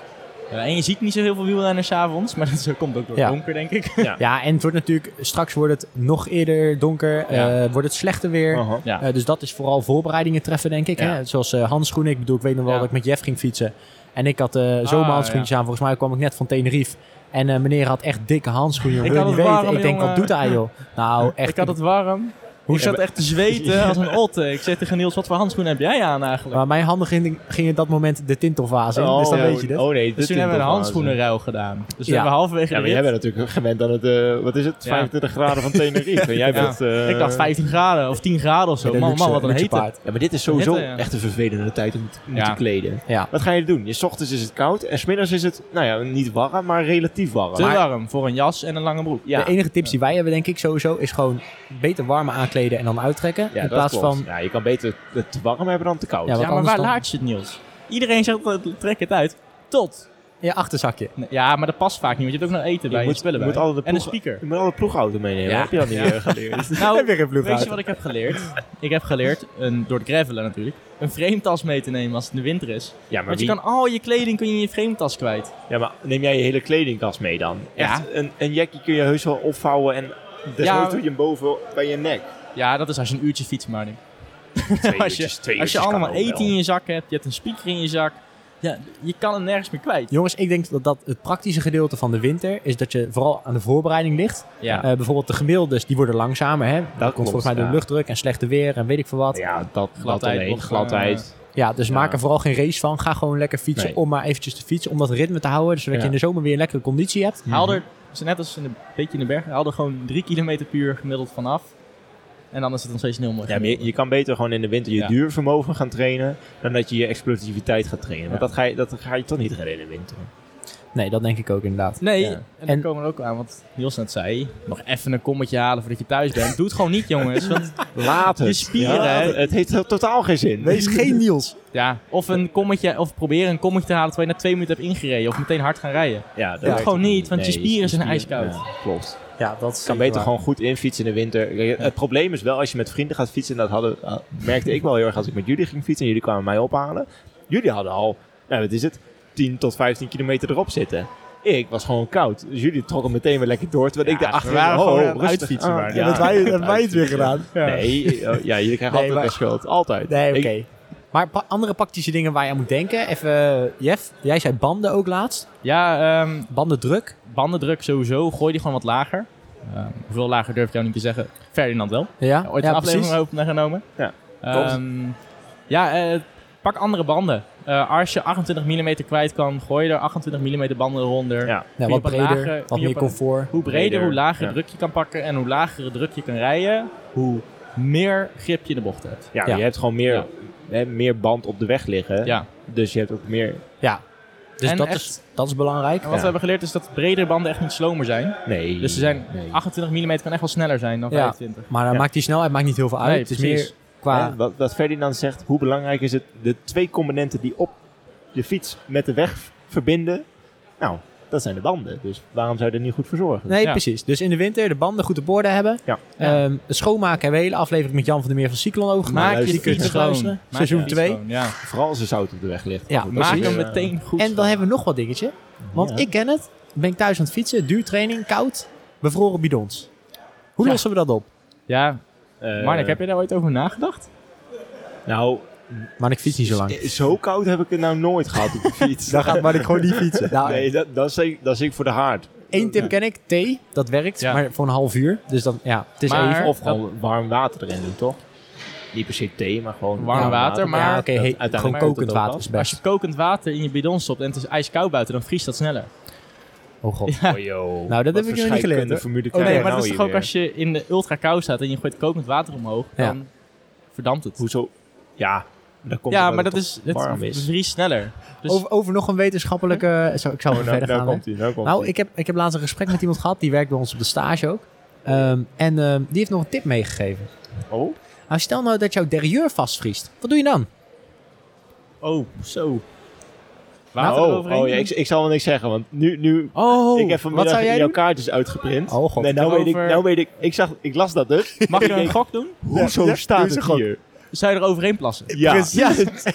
Eh, en je ziet niet zo heel veel wielrenners 's avonds, maar dat is- komt ook door Ja. het donker, denk ik. Ja. Ja, en het wordt natuurlijk, straks wordt het nog eerder donker, Ja. eh, wordt het slechter weer. Aha. Ja. Eh, dus dat is vooral voorbereidingen treffen, denk ik. Ja. Hè? Zoals eh, handschoenen. Ik bedoel, ik weet nog wel Ja. Ah, dat ik met Jeff ging fietsen. En ik had eh zomerhandschoentjes aan. Volgens mij kwam ik net van Tenerife. En eh, meneer had echt dikke handschoenen. Ik Ik wil je had niet het weten. warm, ik denk, wat jongen. doet hij, joh? Nou, echt. [LAUGHS] ik had het warm. Hoe ik zat echt [LAUGHS] te zweten als een otte. Ik zeg tegen Niels, wat voor handschoenen heb jij aan eigenlijk? maar mijn handen gingen ging in dat moment de tintelfase in. dus dan ja. weet je dat. Oh nee, dit dus toen is hebben we een wel handschoenenruil gedaan. Dus we Ja. hebben halverwege Ja, maar de jij rit- bent natuurlijk gewend aan het, eh, wat is het, Ja. 25 graden van Tenerife. En jij [LAUGHS] Ja. bent... eh, Ik dacht 15 graden of 10 graden of zo. Met een Oh, Man, luxe- man, wat een luxe hete. paard. Ja, maar dit is sowieso Hitte, ja. echt een vervelende tijd om te moeten eh, Ja. kleden. Ja. Wat ga je doen? Je 's ochtends is het koud en smiddags is het, nou ja, niet warm, maar relatief warm. Te Maar- warm voor een jas en een lange broek. ja. De enige tips die wij hebben, denk ik, sowieso, is gewoon beter warme aankleden en dan uittrekken. Ja, dat in plaats klopt. van... Ja, je kan beter het te warm hebben dan te koud. Ja, wat Ja, maar anders waar dan- laat je het, Niels? Iedereen zegt, eh, trek het uit. Tot. Je achterzakje. Nee, Ja, maar dat past vaak niet, want je hebt ook nog eten bij je, moet- spullen je bij moet altijd de En een ploeg- speaker. [LAUGHS] Je moet alle ploegauto meenemen. Ja. Heb je dan niet Ja. eh, geleerd? Nou, weer een ploeg weet uit. je wat ik heb geleerd? ik heb geleerd, een, door het gravelen natuurlijk, een frametas mee te nemen als het in de winter is. Ja, maar, Want je wie, kan al je kleding kun je in je frametas kwijt. ja, maar neem jij je hele kledingkast mee dan? Ja. Echt, een, een jackie kun je heus wel opvouwen en desnoods Ja. doe je hem boven bij je nek. Ja, dat is als je een uurtje fietst, maar Twee [LAUGHS] als uurtjes, je, twee als je uurtjes kan allemaal ook eten wel. in je zak hebt, je hebt een speaker in je zak. Ja, je kan het nergens meer kwijt. Jongens, ik denk dat, dat het praktische gedeelte van de winter is dat je vooral aan de voorbereiding ligt. Ja. Eh, bijvoorbeeld de gemiddeldes, die worden langzamer. Hè? Dat, komt klopt, volgens mij ja. door luchtdruk en slechte weer en weet ik veel wat. Ja, Ja, dat, dat Gladheid alleen. of, eh, Gladheid. dus maak er vooral geen race van. Ga gewoon lekker fietsen Nee. om maar eventjes te fietsen. Om dat ritme te houden, zodat Ja. je in de zomer weer een lekkere conditie hebt. Haal er, dus net als in de, beetje in de bergen, haal er gewoon 3 km per uur gemiddeld vanaf. En dan is het nog steeds een heel mooi. Ja, maar je, je kan beter gewoon in de winter je Ja. duurvermogen gaan trainen dan dat je je explosiviteit gaat trainen. Want dat ga, je, dat ga je toch niet redden in de winter. Nee, dat denk ik ook inderdaad. Nee, Ja. en dan En- komen we er ook aan, want Niels net zei, nog even een kommetje halen voordat je thuis bent. Doe het gewoon niet, jongens. [LAUGHS] Want, Laat het. Je spieren, Ja, hè? het- Het heeft to- totaal geen zin. Wees geen Niels. ja, of een kommetje, of proberen een kommetje te halen terwijl je na twee minuten hebt ingereden. Of meteen hard gaan Ja, rijden. dat Doe het werkt gewoon ook niet, want je spieren zijn ijskoud. Ja, klopt. Ja, dat is Je kan zeker beter waar. gewoon goed infietsen in de winter. Kijk, Het probleem is wel als je met vrienden gaat fietsen. En dat hadden, ah, merkte ik wel heel erg als ik met jullie ging fietsen. En jullie kwamen mij ophalen. Jullie hadden al, nou wat is het, 10 tot 15 kilometer erop zitten. Ik was gewoon koud. Dus jullie trokken meteen weer lekker door. Terwijl ik Ja, dacht, we waren gewoon aan het oh, rustig uitfietsen aan. waren. Ja, dat [LAUGHS] wij, [LAUGHS] hebben wij het weer gedaan. Nee, eh, ja, jullie krijgen Nee, altijd maar- een schuld. Altijd. Nee, oké. Ik- Maar pa- andere praktische dingen waar je aan moet denken. Even, eh, Jeff, jij zei banden ook laatst. Ja, ehm, Bandendruk. bandendruk sowieso, gooi die gewoon wat lager. Ehm, hoeveel lager durf ik jou niet te zeggen? Ferdinand wel. Ja, Ooit ja een aflevering over naar genomen. Ja, Ehm, ja eh, pak andere banden. Eh, als je 28 mm kwijt kan, gooi er 28 mm banden Ja. eronder. Ja, Kun Nou, je wat op een breder, lage- kun wat je meer op een- comfort. Hoe breder, Breder, hoe lager ja. druk je kan pakken en hoe lagere druk je kan rijden, hoe meer grip je de bocht hebt. Ja, Ja. je hebt gewoon meer, Ja. hè, meer band op de weg liggen. Ja. Dus je hebt ook meer... Ja, dus En dat, echt- is, dat is belangrijk. En wat Ja. we hebben geleerd is dat bredere banden echt niet slomer zijn. Nee. Dus ze zijn nee. 28 mm kan echt wel sneller zijn dan Ja. 25. Maar dan Ja. maakt die snelheid maakt niet heel veel uit. Nee, het is precies. meer qua... Hè, wat, wat Ferdinand zegt, hoe belangrijk is het de twee componenten die op de fiets met de weg v- verbinden? Nou, dat zijn de banden. Dus waarom zou je er niet goed voor zorgen? Nee, Ja. precies. Dus in de winter de banden goed op orde hebben. Ja. Ehm, het schoonmaken hebben we een hele aflevering met Jan van der Meer van Cyclon over gemaakt. Maak je luister, fiets kunt schoon. luisteren. Maak Seizoen je fiets twee. schoon, Ja. Vooral als er zout op de weg ligt. Ja, Goed, dat Maak is, hem eh, meteen goed. En dan hebben we nog wat dingetje. Want Ja. ik ken het. Ben ik thuis aan het fietsen. Duurtraining, koud. Bevroren bidons. Hoe Ja. lossen we dat op? Ja, eh, Marnik, heb je daar ooit over nagedacht? Nou, Maar ik fiets niet zo lang. eh, zo koud heb ik het nou nooit gehad [LAUGHS] op de fiets. Dan gaat maar ik gewoon niet fietsen. [LAUGHS] Nou, Nee, dat, dat, is, ik- dat is ik voor de haard. Eén tip ken ik. Thee. Dat werkt. Ja. Maar voor een half uur. Dus dan, ja, het is Maar- even. Of gewoon warm water erin doen, toch? Niet per se thee, maar gewoon Warm water, maar- ja, oké. dat- hey, uiteindelijk gewoon komt het kokend ook water wel. is Als best. je kokend water in je bidon stopt en het is ijskoud buiten, dan vriest dat sneller. Oh god. Oh, joh. Nou, dat Wat heb voor ik nog niet geleerd, scheikunde hoor. formule Oh, nee, krijg Nee, je maar nou dat is toch hier ook weer? als je in de ultra kou staat en je gooit kokend water omhoog, Ja. dan verdampt het. Hoezo? Ja, dat komt ja, omdat maar het dat is, toch warm het is. vriest sneller. Dus Over, over nog een wetenschappelijke... Zo, ik zou even verder gaan. hè. hij, nou komt Nou, ik heb, ik heb laatst een gesprek met iemand gehad. Die werkt bij ons op de stage ook. Ehm, en ehm, die heeft nog een tip meegegeven. Oh, Nou, stel nou dat jouw derrière vastvriest. Wat doe je dan? Oh, zo. oh, Water oh, eroverheen? ja, ik, ik zal wel niks zeggen, want nu, nu Oh, ik heb wat vanmiddag zou jij jouw doen? kaartjes uitgeprint. Oh, god. Nee, nou weet ik, Over- nou weet ik, ik zag, ik las dat [LAUGHS] dus. Mag je een gok doen? Hoezo ja, doe staat eens het een [LAUGHS] hier? Zou je er overheen plassen? Ja, ja.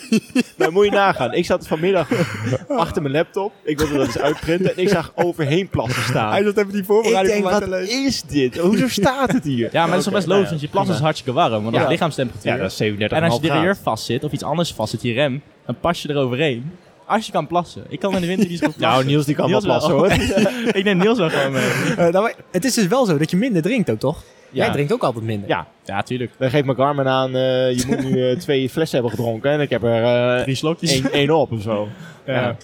[LAUGHS] maar moet je nagaan. Ik zat vanmiddag [LAUGHS] achter mijn laptop, ik wilde dat eens uitprinten en ik zag overheen plassen staan. zat even die Ik denk, van wat is dit? Hoezo staat het [LAUGHS] hier? Ja, maar dat is toch best logisch, want je plas is nou prima. hartstikke warm, want dat Ja. is lichaamstemperatuur. Ja, dat is 37 en als je derrière vast zit, of iets anders vast zit, je rem, dan pas je eroverheen. Als je kan plassen. Ik kan in de winter niet zo goed plassen. [LAUGHS] Nou, Niels die kan wel Niels plassen wel. hoor. [LAUGHS] ik neem Niels wel gewoon mee. het is dus wel zo dat je minder drinkt ook, toch? Jij Ja. drinkt ook altijd minder. Ja, Ja, tuurlijk. dan geeft mijn Garmin aan, eh, je moet nu eh, twee flessen hebben gedronken en ik heb er eh, Drie slokjes. één één op of zo. Ja.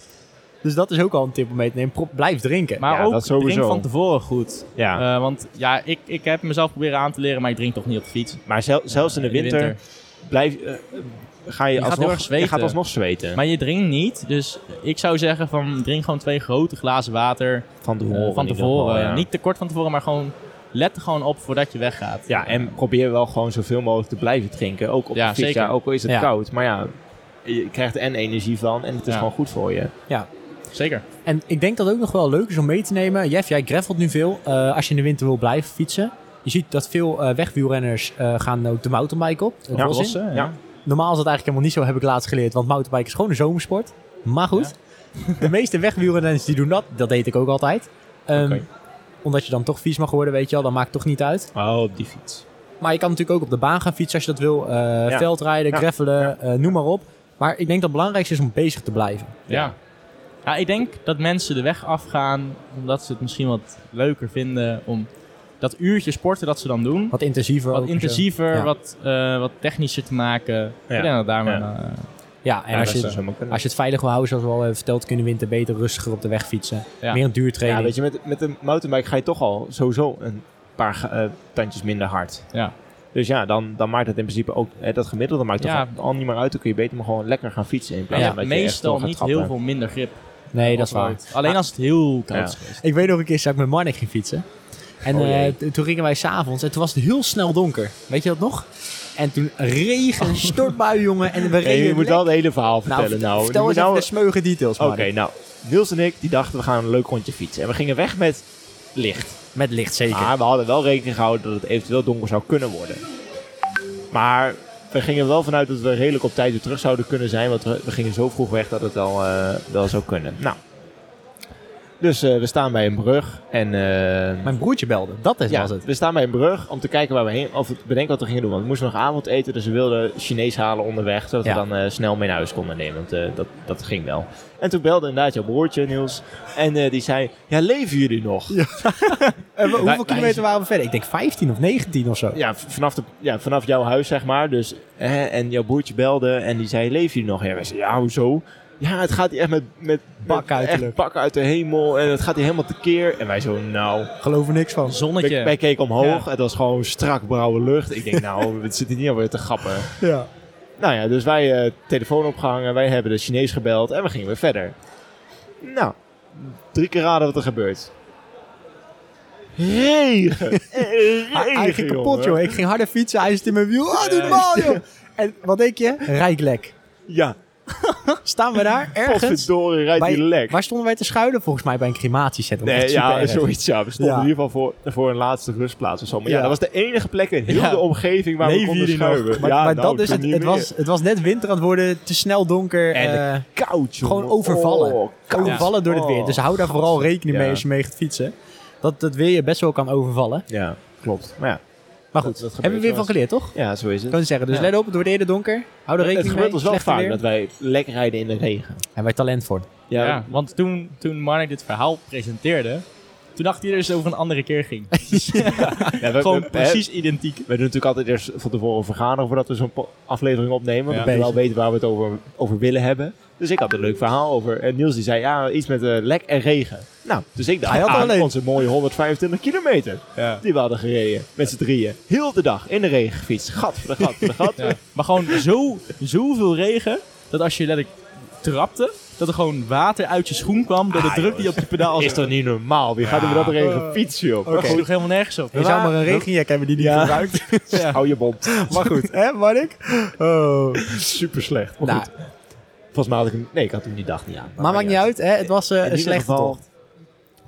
Dus dat is ook al een tip om mee te nemen. Pro- blijf drinken. Maar Ja, ook dat sowieso. drink van tevoren goed. ja. Eh, want ja, ik, ik heb mezelf proberen aan te leren, maar ik drink toch niet op de fiets. Maar zel- zelfs in de eh, in de winter, winter. blijf, eh, ga je, Je gaat alsnog, heel erg je zweten. gaat alsnog zweten. Maar je drinkt niet, dus ik zou zeggen van drink gewoon twee grote glazen water van eh, tevoren. van in ieder geval, tevoren. ja. Niet te kort van tevoren, maar gewoon let er gewoon op voordat je weggaat. ja, en probeer wel gewoon zoveel mogelijk te blijven drinken. Ook op Ja, de fiets, zeker. ja, ook al is het Ja. koud. Maar ja, je krijgt en energie van en het is Ja. gewoon goed voor je. Zeker. En ik denk dat het ook nog wel leuk is om mee te nemen. Jeff, jij gravelt nu veel. eh, als je in de winter wil blijven fietsen. Je ziet dat veel eh, wegwielrenners eh, gaan ook de mountainbike op. Het Ja, bos in. Lossen, ja. Ja. Normaal is dat eigenlijk helemaal niet zo, heb ik laatst geleerd. Want mountainbiken is gewoon een zomersport. Maar goed, de meeste wegwielrenners die doen dat. Dat deed ik ook altijd. Ehm, Oké. Omdat je dan toch vies mag worden, weet je wel. Dat maakt toch niet uit. Oh, op die fiets. Maar je kan natuurlijk ook op de baan gaan fietsen als je dat wil. eh, Ja. Veldrijden, Ja. gravelen, eh, noem maar op. Maar ik denk dat het belangrijkste is om bezig te blijven. Ja. ja, ik denk dat mensen de weg afgaan omdat ze het misschien wat leuker vinden om dat uurtje sporten dat ze dan doen. Wat intensiever. ook dus, Wat zo. intensiever, Ja. wat, eh, wat technischer te maken. Ja. Ik denk dat daar maar... Ja. eh, Ja, en Ja, dat als, dus je, zou zomaar kunnen. als je het veilig wil houden, zoals we al hebben verteld, kunnen winter beter rustiger op de weg fietsen. Ja. Meer een duurtraining. Ja, weet je, met, met een mountainbike ga je toch al sowieso een paar ga- eh, tandjes minder hard. Ja. Dus ja, dan, dan maakt het in principe ook eh, dat gemiddelde maakt Ja. toch al, al niet meer uit. Dan kun je beter maar gewoon lekker gaan fietsen in plaats ja, van dat je echt meestal wel gaat niet trappen. heel veel minder grip. nee, dat is waar. Off-road. Alleen als het heel koud Ja. is geweest. Ik weet nog een keer dat ik met Marnik ging fietsen. En Oh, jee. eh, t- toen gingen wij s'avonds en toen was het heel snel donker. Weet je dat nog? En toen regen, stortbui, jongen. En we Nee, reden Oh. je moet lek- wel het hele verhaal Nou, vertellen. Nou, vertel Je eens moet nou- even de smeuge details, Oké, Marnik. nou, Niels en ik die dachten we gaan een leuk rondje fietsen. En we gingen weg met licht. Met licht zeker. Maar we hadden wel rekening gehouden dat het eventueel donker zou kunnen worden. Maar we gingen er wel vanuit dat we redelijk op tijd weer terug zouden kunnen zijn. Want we, we gingen zo vroeg weg dat het wel, eh, wel zou kunnen. Nou. Dus eh, we staan bij een brug. En, eh, Mijn broertje belde. Dat is, ja, was het. we staan bij een brug om te kijken waar we heen, of we bedenken wat we gingen doen. Want we moesten nog avondeten, dus we wilden Chinees halen onderweg, zodat Ja. we dan eh, snel mee naar huis konden nemen. Want eh, dat, dat ging wel. En toen belde inderdaad jouw broertje, Niels. En eh, die zei, ja, leven jullie nog? Ja, En we- hoeveel wij- kilometer waren we verder? Ik denk 15 of 19 of zo. v- vanaf, de, ja vanaf jouw huis, zeg maar. Dus, hè, en jouw broertje belde en die zei, leven jullie nog? Ja, wij zeiden, ja, hoezo? Ja, het gaat hier echt met, met Bakken uit de echt lucht. bakken uit de hemel. En het gaat hier helemaal tekeer. En wij zo, nou... Geloof er niks van. Wij, Zonnetje. wij keken omhoog. Het was gewoon strak blauwe lucht. Ik denk, nou, [LAUGHS] het zit hier niet alweer te grappen. Ja. Nou ja, dus wij eh, telefoon opgehangen, wij hebben de Chinees gebeld en we gingen weer verder. Nou, drie keer raden wat er gebeurt. [LAUGHS] Regen! Hij, hij ging kapot, jongen. joh. Ik ging harder fietsen. Hij zit in mijn wiel. Ah, doe normaal, joh. En wat denk je? Rijklek. Ja, Staan we daar ergens? potverdorie, rijdt Bij- die lek. Waar stonden wij te schuilen? Volgens mij bij een crematiecentrum. Nee, Echt super ja, erg. zoiets ja. We stonden Ja. in ieder geval voor, voor een laatste rustplaats of zo. Maar ja, Ja. dat was de enige plek in heel Ja. de omgeving waar we Leven konden jullie nog? schuiven. Maar, ja, maar nou, dat dus, toen het, niet het meer. was, het was net winter aan het worden, te snel donker. En eh, koud, jongen. gewoon overvallen. Oh, koud. overvallen door het Oh. weer. Dus hou daar vooral rekening mee Ja. als je mee gaat fietsen. Dat dat weer je best wel kan overvallen. Ja, klopt. Maar ja, Maar Dat- goed, dat gebeurt hebben we weer wel van geleerd, toch? ja, zo is het. Kan je zeggen. Dus Ja. let op, het wordt eerder donker. Hou er rekening mee. Het gebeurt ons wel slechter vaak weer. dat wij lek rijden in de regen. En wij talent voor. Ja, Ja, want toen, toen Mark dit verhaal presenteerde, toen dacht iedereen dat het over een andere keer ging. Ja, we, [LAUGHS] Gewoon we- precies hè, identiek. We doen natuurlijk altijd eerst van tevoren vergaderen voordat we zo'n po- aflevering opnemen. Ja. Want we wel weten waar we het over, over willen hebben. Dus ik had een leuk verhaal over. En Niels die zei, ja, iets met eh, lek en regen. Nou, dus ik dacht Hij had er aan Ah, alleen. onze mooie 125 kilometer. Ja. Die we hadden gereden. Met z'n drieën. Heel de dag in de regen gefietst. Gat voor de gat voor de gat. [LAUGHS] Ja. Maar gewoon zo, zoveel regen, dat als je letterlijk trapte, dat er gewoon water uit je schoen kwam door de Ah, druk die joh. op je pedaal Is zat. toch niet normaal? Wie gaat er met dat regen fietsen, joh? Dat sloeg helemaal nergens op. Je zou maar een regenjack hebben die niet Ja. gebruikt. Ja. Hou je [LAUGHS] bond. Maar goed, hè, Marnik? Oh. Super slecht. Maar Nou, goed, volgens mij had ik hem... Nee, ik had hem die dag niet aan. maar maakt niet uit, hè? Het was eh, In een ieder slechte geval- tocht.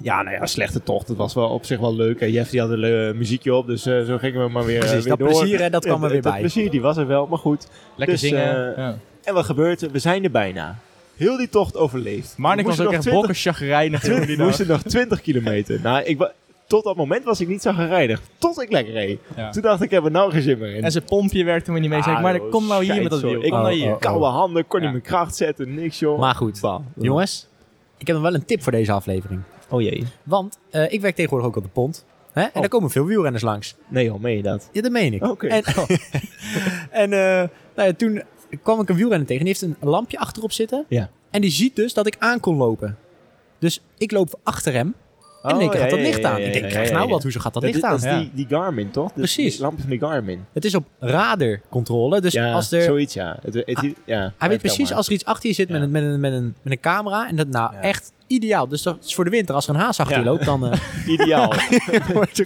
Ja, nou ja, slechte tocht. Het was wel op zich wel leuk. En Jeff die had een leu- muziekje op, dus eh, zo gingen we maar weer, eh, Precies, weer dat door. plezier, hè, dat kwam er Ja, weer dat bij. plezier, die was er wel, maar goed. Lekker Dus, zingen. eh, ja. En wat gebeurt er? We zijn er bijna. Heel die tocht overleefd. Marnik We was ook echt moesten nog 20 bokken chagrijnig toen die We dag. moesten nog 20 kilometer. Nou, ik wa- tot dat moment was ik niet zo gereinigd. Tot ik lekker reed. Ja. Toen dacht ik, ik heb er nou geen zin meer in. En zijn pompje werkte me niet mee. Zei ik, Ah, Marnik, joh, kom nou hier schijt, met dat wiel. joh. Kom Ik- nou Oh, hier. oh. Koude handen, kon Ja. niet mijn kracht zetten, niks joh. Maar goed, Bam. jongens, ik heb nog wel een tip voor deze aflevering. Oh jee. Want eh, ik werk tegenwoordig ook op de pont. Hè? En Oh. daar komen veel wielrenners langs. Nee joh, meen je dat? Ja, dat meen ik. Oké. Oh. En, [LAUGHS] en eh, nou ja, toen kwam ik een wielrenner tegen. Die heeft een lampje achterop zitten. Ja. En die ziet dus dat ik aan kon lopen. Dus ik loop achter hem. En in één keer Oh, gaat dat ja, ja, licht ja, aan. ja, ja, Ik denk, ja, krijg ja, nou ja. wat? Hoezo gaat dat Dat, licht is- dat aan? is die, die Garmin, toch? Dat is Precies. Die lamp van die Garmin. Het is op radarcontrole. Dus ja, als er zoiets, ja. Het, het, ja. Ah, Hij weet Vertel precies maar. als er iets achter je zit met, Ja. een, met, een, met, een, met een camera. En dat nou Ja. echt ideaal. Dus dat is voor de winter. Als er een haas achter je Ja. loopt, [LAUGHS] dan... eh, Ideaal. [LAUGHS] Weet je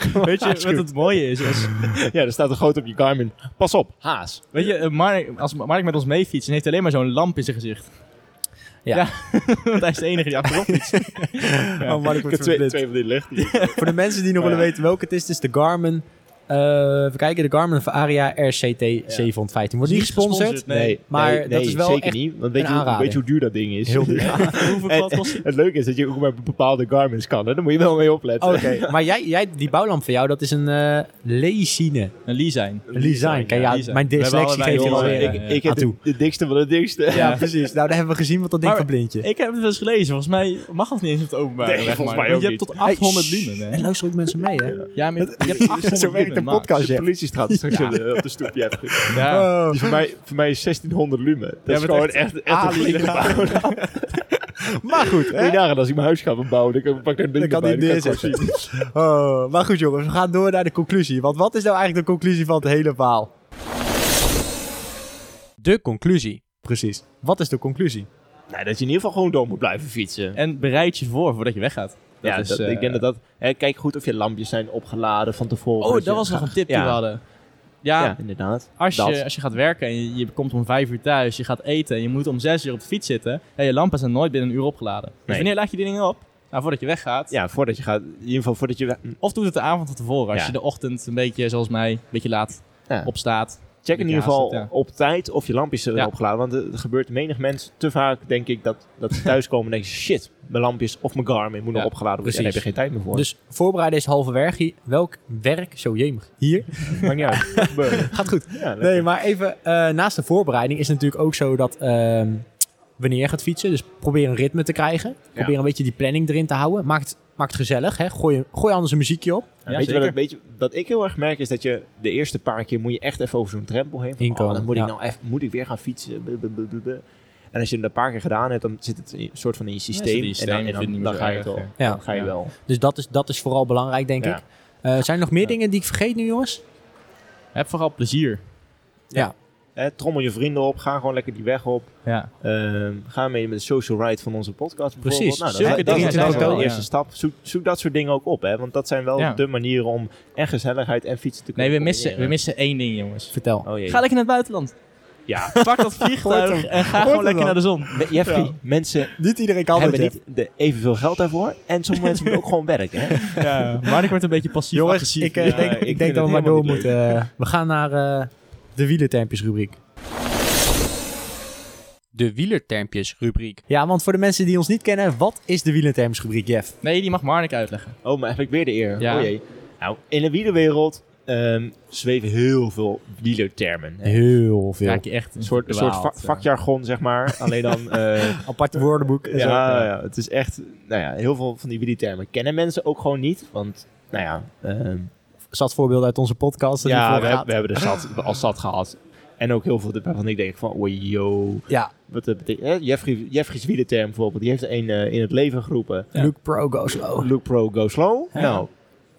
wat het Oh, mooie is? Als- ja, er staat er groot op je Garmin. Pas op, haas. Weet je, eh, Mark, als Mark met ons mee fietst, dan heeft hij alleen maar zo'n lamp in zijn gezicht. Ja. [LAUGHS] Want hij is de enige die achterop fietst. oh, man, ik Ik word [LAUGHS] heb twee, verblind. [LAUGHS] twee van die licht. hier. Voor de mensen die nog Oh, ja. willen weten welke het is. Het is de Garmin Eh, even kijken, de Garmin Varia RCT 715. Wordt niet gesponsord. Nee. Maar nee, dat nee, is wel zeker echt niet. Want een weet je, hoe, aanrader. weet je hoe duur dat ding is? heel duur. Hoeveel En- kwad kost het? [LAUGHS] het leuke is dat je ook maar bepaalde garments kan. Hè? Daar moet je wel mee opletten. Oké, maar jij, jij, die bouwlamp van jou, dat is een eh lezine. Een Lee zijn. Lezine. Kijk, ja, ja, Lezine. mijn We hebben dyslexie allebei geeft hier jongens, alweer. ik- eh, Ik heb aan toe. de, de dikste van de dikste. [LAUGHS] Ja, precies. Nou, daar hebben we gezien wat dat ding Maar- van blindje. Ik heb het eens gelezen. Volgens mij mag het niet eens op het openbaar. Nee, zeg maar. volgens mij Want ook je niet. hebt tot 800 lumen. En hè? luister ook mensen [LAUGHS] mee, hè? [LAUGHS] Ja, maar je hebt 800 Zo werkt lumen, een max. podcast. shit. De politie straat straks in de- op de stoep. [LAUGHS] Ja, Ja. Oh. Die voor, mij, voor mij is 1600 lumen. Dat is maar gewoon echt- echt, echt, een flinke bouw. [LAUGHS] Maar goed, Moet je nagaan, als ik mijn huis ga bouwen, dan kan- pak ik daar een ding kan bij. die dan kan ik neerzetten. gewoon zien. Oh, maar goed jongens, we gaan door naar de conclusie. Want wat is nou eigenlijk de conclusie van het hele verhaal? De conclusie. Precies. Wat is de conclusie? Nou, dat je in ieder geval gewoon door moet blijven fietsen. En bereid je voor voordat je weggaat. Dat ja, is, dat- eh, ik denk dat dat... hè, kijk goed of je lampjes zijn opgeladen van tevoren. Oh, je- dat was nog een tip die Ja. we hadden. Ja, Ja, inderdaad. als, Dat. je, als je gaat werken en je, je komt om vijf uur thuis, je gaat eten en je moet om zes uur op de fiets zitten. En je lampen zijn nooit binnen een uur opgeladen. Dus Nee. wanneer laat je die dingen op? Nou, voordat je weggaat. Ja, voordat je gaat... In ieder geval voordat je... we- Of doe het de avond van tevoren. Als Ja. je de ochtend een beetje, zoals mij, een beetje laat Ja. opstaat. Check in Beetje ieder geval haast het, op tijd of je lampjes zijn Ja. opgeladen. Want er er gebeurt menig mensen te vaak, denk ik, dat, dat [LAUGHS] ze thuiskomen en denken... Shit, mijn lampjes of mijn Garmin moet nog Ja, opgeladen worden. En daar heb precies. je geen tijd meer voor. Dus voorbereiden is halverwege. Welk werk, zo jemig, hier. maakt niet [LAUGHS] uit. Gebeurt. Gaat goed. Ja, lekker. Nee, maar even eh, naast de voorbereiding is het natuurlijk ook zo dat ehm, wanneer je gaat fietsen, dus probeer een ritme te krijgen. Probeer een beetje die planning erin te houden. Maak het, maak het gezellig, hè. Gooi, gooi anders een muziekje op. Ja, weet je wat ik, weet je, dat ik heel erg merk is dat je de eerste paar keer moet je echt even over zo'n drempel heen. Van, Inkomen, oh, dan moet ja. ik nou even, moet ik weer gaan fietsen. Blah, blah, blah, blah, blah. En als je het een paar keer gedaan hebt, dan zit het in- soort van in je zit systeem. in je en dan, systeem, en vind je dan, niet dan meer ga zo je erg, het al. ja. Ja. Ga je Ja. wel. Dus dat is, dat is vooral belangrijk, denk Ja. ik. Eh, zijn er nog meer Ja. dingen die ik vergeet nu, jongens? Heb vooral plezier. Hè, trommel je vrienden op, ga gewoon lekker die weg op. Ja. Ehm, ga mee met de social ride van onze podcast. bijvoorbeeld. Precies. Nou, dat, Zulke dat- dingen dat is zijn wel wel, de ja. eerste stap. Zoek, zoek dat soort dingen ook op, hè? want dat zijn wel Ja. de manieren om en gezelligheid en fietsen te Nee, kunnen we missen, we combineren. missen één ding, jongens. Vertel. Oh, jee. Ga lekker naar het buitenland. Ja. Pak dat vliegtuig en Hoort ga hem gewoon lekker dan. naar de zon. Me- Jeffrey, mensen Niet iedereen kan hebben niet de, evenveel geld daarvoor. En sommige mensen moeten ook gewoon werken. Hè? Ja. Maar ik word een beetje passief Jongens, agressief. ik, eh, ik denk, ik, vind denk dat we het maar helemaal door niet moeten. Eh, we gaan naar eh, de wielertermpjes rubriek. De wielertermpjes rubriek. Ja, want voor de mensen die ons niet kennen, wat is de wielertermpjes rubriek, Jeff? Nee, die mag Marnik uitleggen. Oh, maar heb ik weer de eer. Ja. Oh jee. Nou, in de wielerwereld ehm, zweven heel veel wielertermen. Hè. Heel veel. Raak je echt Een soort, een soort va- vakjargon, zeg maar. Alleen dan... eh, Aparte woordenboek. en zo. ja, ja, het is echt... Nou ja, heel veel van die wielertermen kennen mensen ook gewoon niet. Want, nou ja... ehm, Zat voorbeeld uit onze podcast. dat ja, hiervoor we, gaat. hebben- we hebben er zat, al zat gehad. En ook heel veel waarvan ik denk van... Oh, yo. ja. Wat dat betekent... hè, Jeffrey, Jeffrey's wielerterm bijvoorbeeld. Die heeft er een eh, in het leven geroepen. Luke oh. Pro Go Slow. Luke Pro, go slow. Nou,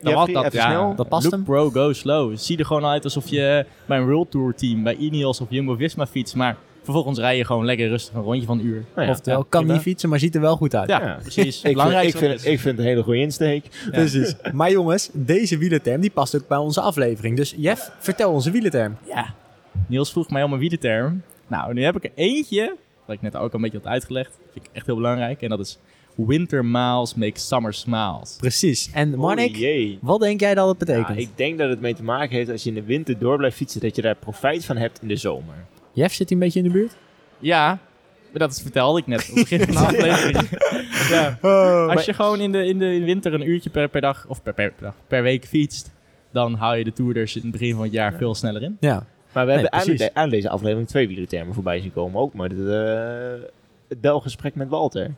Dan Jeffrey, had dat, even ja. snel. Dat past Look hem. bro, go slow. Het ziet er gewoon uit alsof je bij een World Tour team, bij Ineos of Jumbo-Visma fietst. Maar vervolgens rij je gewoon lekker rustig een rondje van een uur. Nou ja. Oftewel, kan prima. niet fietsen, maar ziet er wel goed uit. Ja, Ja. [LAUGHS] precies. Ik vind, Belangrijk ik, vind, ik vind het een hele goede insteek. Precies. Maar jongens, deze wielerterm die past ook bij onze aflevering. Dus Jeff, vertel onze wielerterm. Ja. Niels vroeg mij om een wielerterm. Nou, nu heb ik er eentje, wat ik net ook al een beetje had uitgelegd. vind ik echt heel belangrijk. En dat is winter miles make summer smiles. Precies. En Oh, Marnik, jee. wat denk jij dat het Ja, betekent? ik denk dat het mee te maken heeft als je in de winter door blijft fietsen, dat je daar profijt van hebt in de zomer. Jeff zit hier een beetje in de buurt. Ja, maar dat vertelde ik net op het begin [LAUGHS] van de aflevering. ja. Oh. Als je gewoon in de, in de winter een uurtje per, per dag, of per, per, per dag, per week fietst, dan hou je de toerders in het begin van het jaar veel sneller in. Ja. Maar we hebben precies. eigenlijk aan deze aflevering twee wielertermen voorbij zien komen. Ook maar het, eh, het belgesprek met Walter.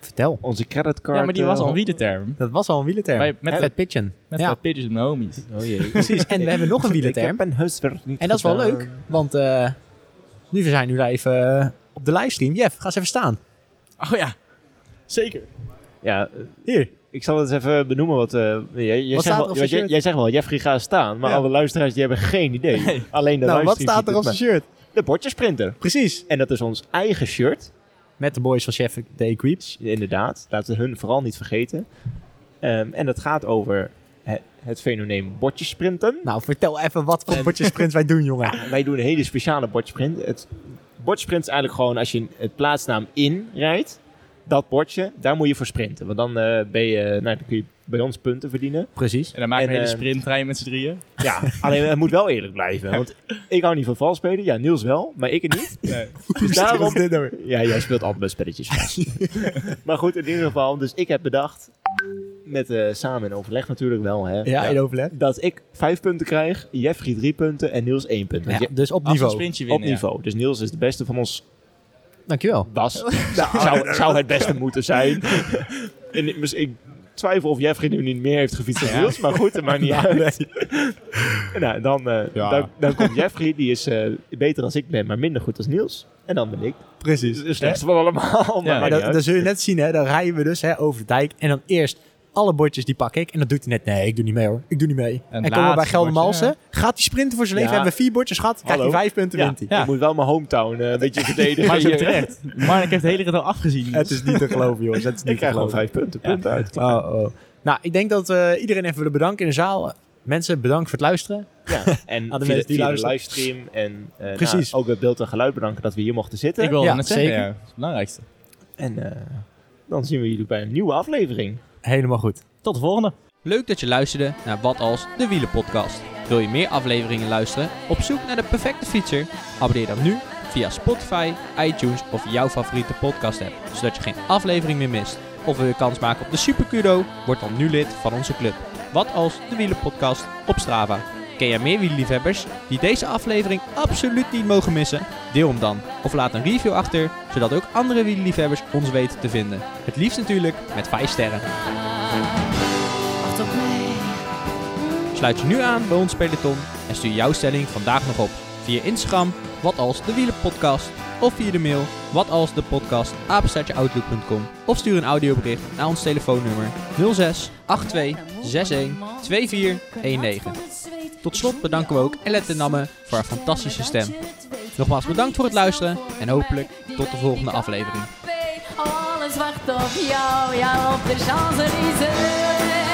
Vertel. Onze creditcard. Ja, maar die was al eh, een wielerterm. Dat was al een wielerterm. Bij- met- met [LAUGHS] Fat Pitchen. Met ja, wat pitjes en homies. Oh jee. precies. En we hebben nog een wielerterm. [LAUGHS] Ik heb een huiswerk niet En dat is wel gedaan. leuk, want eh, nu we zijn nu daar even eh, op de livestream. Jeff, ga eens even staan. [LAUGHS] Oh ja, zeker. Ja, eh, Hier. ik zal het eens even benoemen. Wat, eh, jij, jij, Wat staat zegt er wel, op jij, zijn shirt? jij zegt wel, Jeffrey gaat staan. Maar Ja. alle luisteraars die hebben geen idee. Alleen de nou, livestream wat staat ziet er op zijn het, shirt? maar- De bordjesprinter. Precies. En dat is ons eigen shirt. Met de boys van Chef de Creep. Inderdaad, laten we hun vooral niet vergeten. Ehm, en dat gaat over het, het fenomeen bordjesprinten. Nou, vertel even wat voor potjesprint wij doen, [LAUGHS] jongen. Wij doen een hele speciale bordjesprint. Het bordjesprint is eigenlijk gewoon als je het plaatsnaam in rijdt. dat potje, daar moet je voor sprinten. Want dan, eh, ben je, nou, dan kun je bij ons punten verdienen. Precies. En dan maken we een En, hele eh, sprinttrein met z'n drieën. Ja, alleen het moet wel eerlijk blijven. Want ik hou niet van vals spelen. Ja, Niels wel, maar ik het niet. Nee. Dus daarom... dit nou weer? Ja, jij speelt altijd bij spelletjes. vals. [LAUGHS] maar goed, in ieder geval. Dus ik heb bedacht, met, eh, samen in overleg natuurlijk wel, hè, Ja, in overleg. dat ik vijf punten krijg, Jeffrey drie punten en Niels één punt. Want Ja, je- dus op Als we een niveau. sprintje op winnen. ja. niveau. Dus Niels is de beste van ons Dankjewel. [LAUGHS] was. zou, zou het [LAUGHS] beste moeten zijn. en ik, mis- ik twijfel of Jeffrey nu niet meer heeft gefietst dan Ja. Niels, maar goed, dat maakt niet uit. [LAUGHS] nou, dan, eh, Ja. dan, dan komt Jeffrey, die is eh, beter als ik ben, maar minder goed als Niels. En dan ben ik Precies. de slechtste van allemaal. [LAUGHS] Ja. maar Maar dat, dan, dan zul je net zien, hè, dan rijden we dus hè, over de dijk. En dan eerst alle bordjes die pak ik. En dat doet hij net. Nee, ik doe niet mee hoor. Ik doe niet mee. En, komen we bij laatste Geldermalsen. bordje, Gaat hij sprinten voor zijn leven? Ja. Hebben we vier bordjes gehad? Krijgt hij Hallo. vijf punten, wint hij. Ik moet wel mijn hometown eh, een beetje verdedigen. Maar zo hier. terecht. Mark heeft de hele rit al afgezien. Het is niet te geloven, jongens. Het is niet [LAUGHS] ik krijg te gewoon geloven. vijf punten. Punt uit. Oh, oh. Nou, ik denk dat we iedereen even willen bedanken in de zaal. Mensen, bedankt voor het luisteren. Ja. En Aan de via, mensen die via de luisteren. livestream en eh, Precies. nou, ook het beeld en geluid bedanken dat we hier mochten zitten. Ik wil Ja, het net zeggen, zeker. ja. Dat is het belangrijkste. En eh, dan zien we jullie bij een nieuwe aflevering. Helemaal goed. Tot de volgende. Leuk dat je luisterde naar Wat als de Wielenpodcast. Wil je meer afleveringen luisteren? Op zoek naar de perfecte fietser? Abonneer dan nu via Spotify, iTunes of jouw favoriete podcast app, zodat je geen aflevering meer mist. Of wil je kans maken op de Supercudo? Word dan nu lid van onze club. Wat als de Wielenpodcast op Strava. Ken jij meer wielerliefhebbers die deze aflevering absoluut niet mogen missen? Deel hem dan of laat een review achter, zodat ook andere wielerliefhebbers ons weten te vinden. Het liefst natuurlijk met 5 sterren. Wacht op mij. Sluit je nu aan bij ons peloton en stuur jouw stelling vandaag nog op via Instagram, wat als de wielenpodcast, of via de mail, wat als de podcast, apenstaartjeoutlook.com of stuur een audiobericht naar ons telefoonnummer 06 82 61 24 19. Tot slot bedanken we ook Ellen ten Namme voor haar fantastische stem. Nogmaals bedankt voor het luisteren en hopelijk tot de volgende aflevering. Alles wacht op jou, jou op de Champs-Élysées.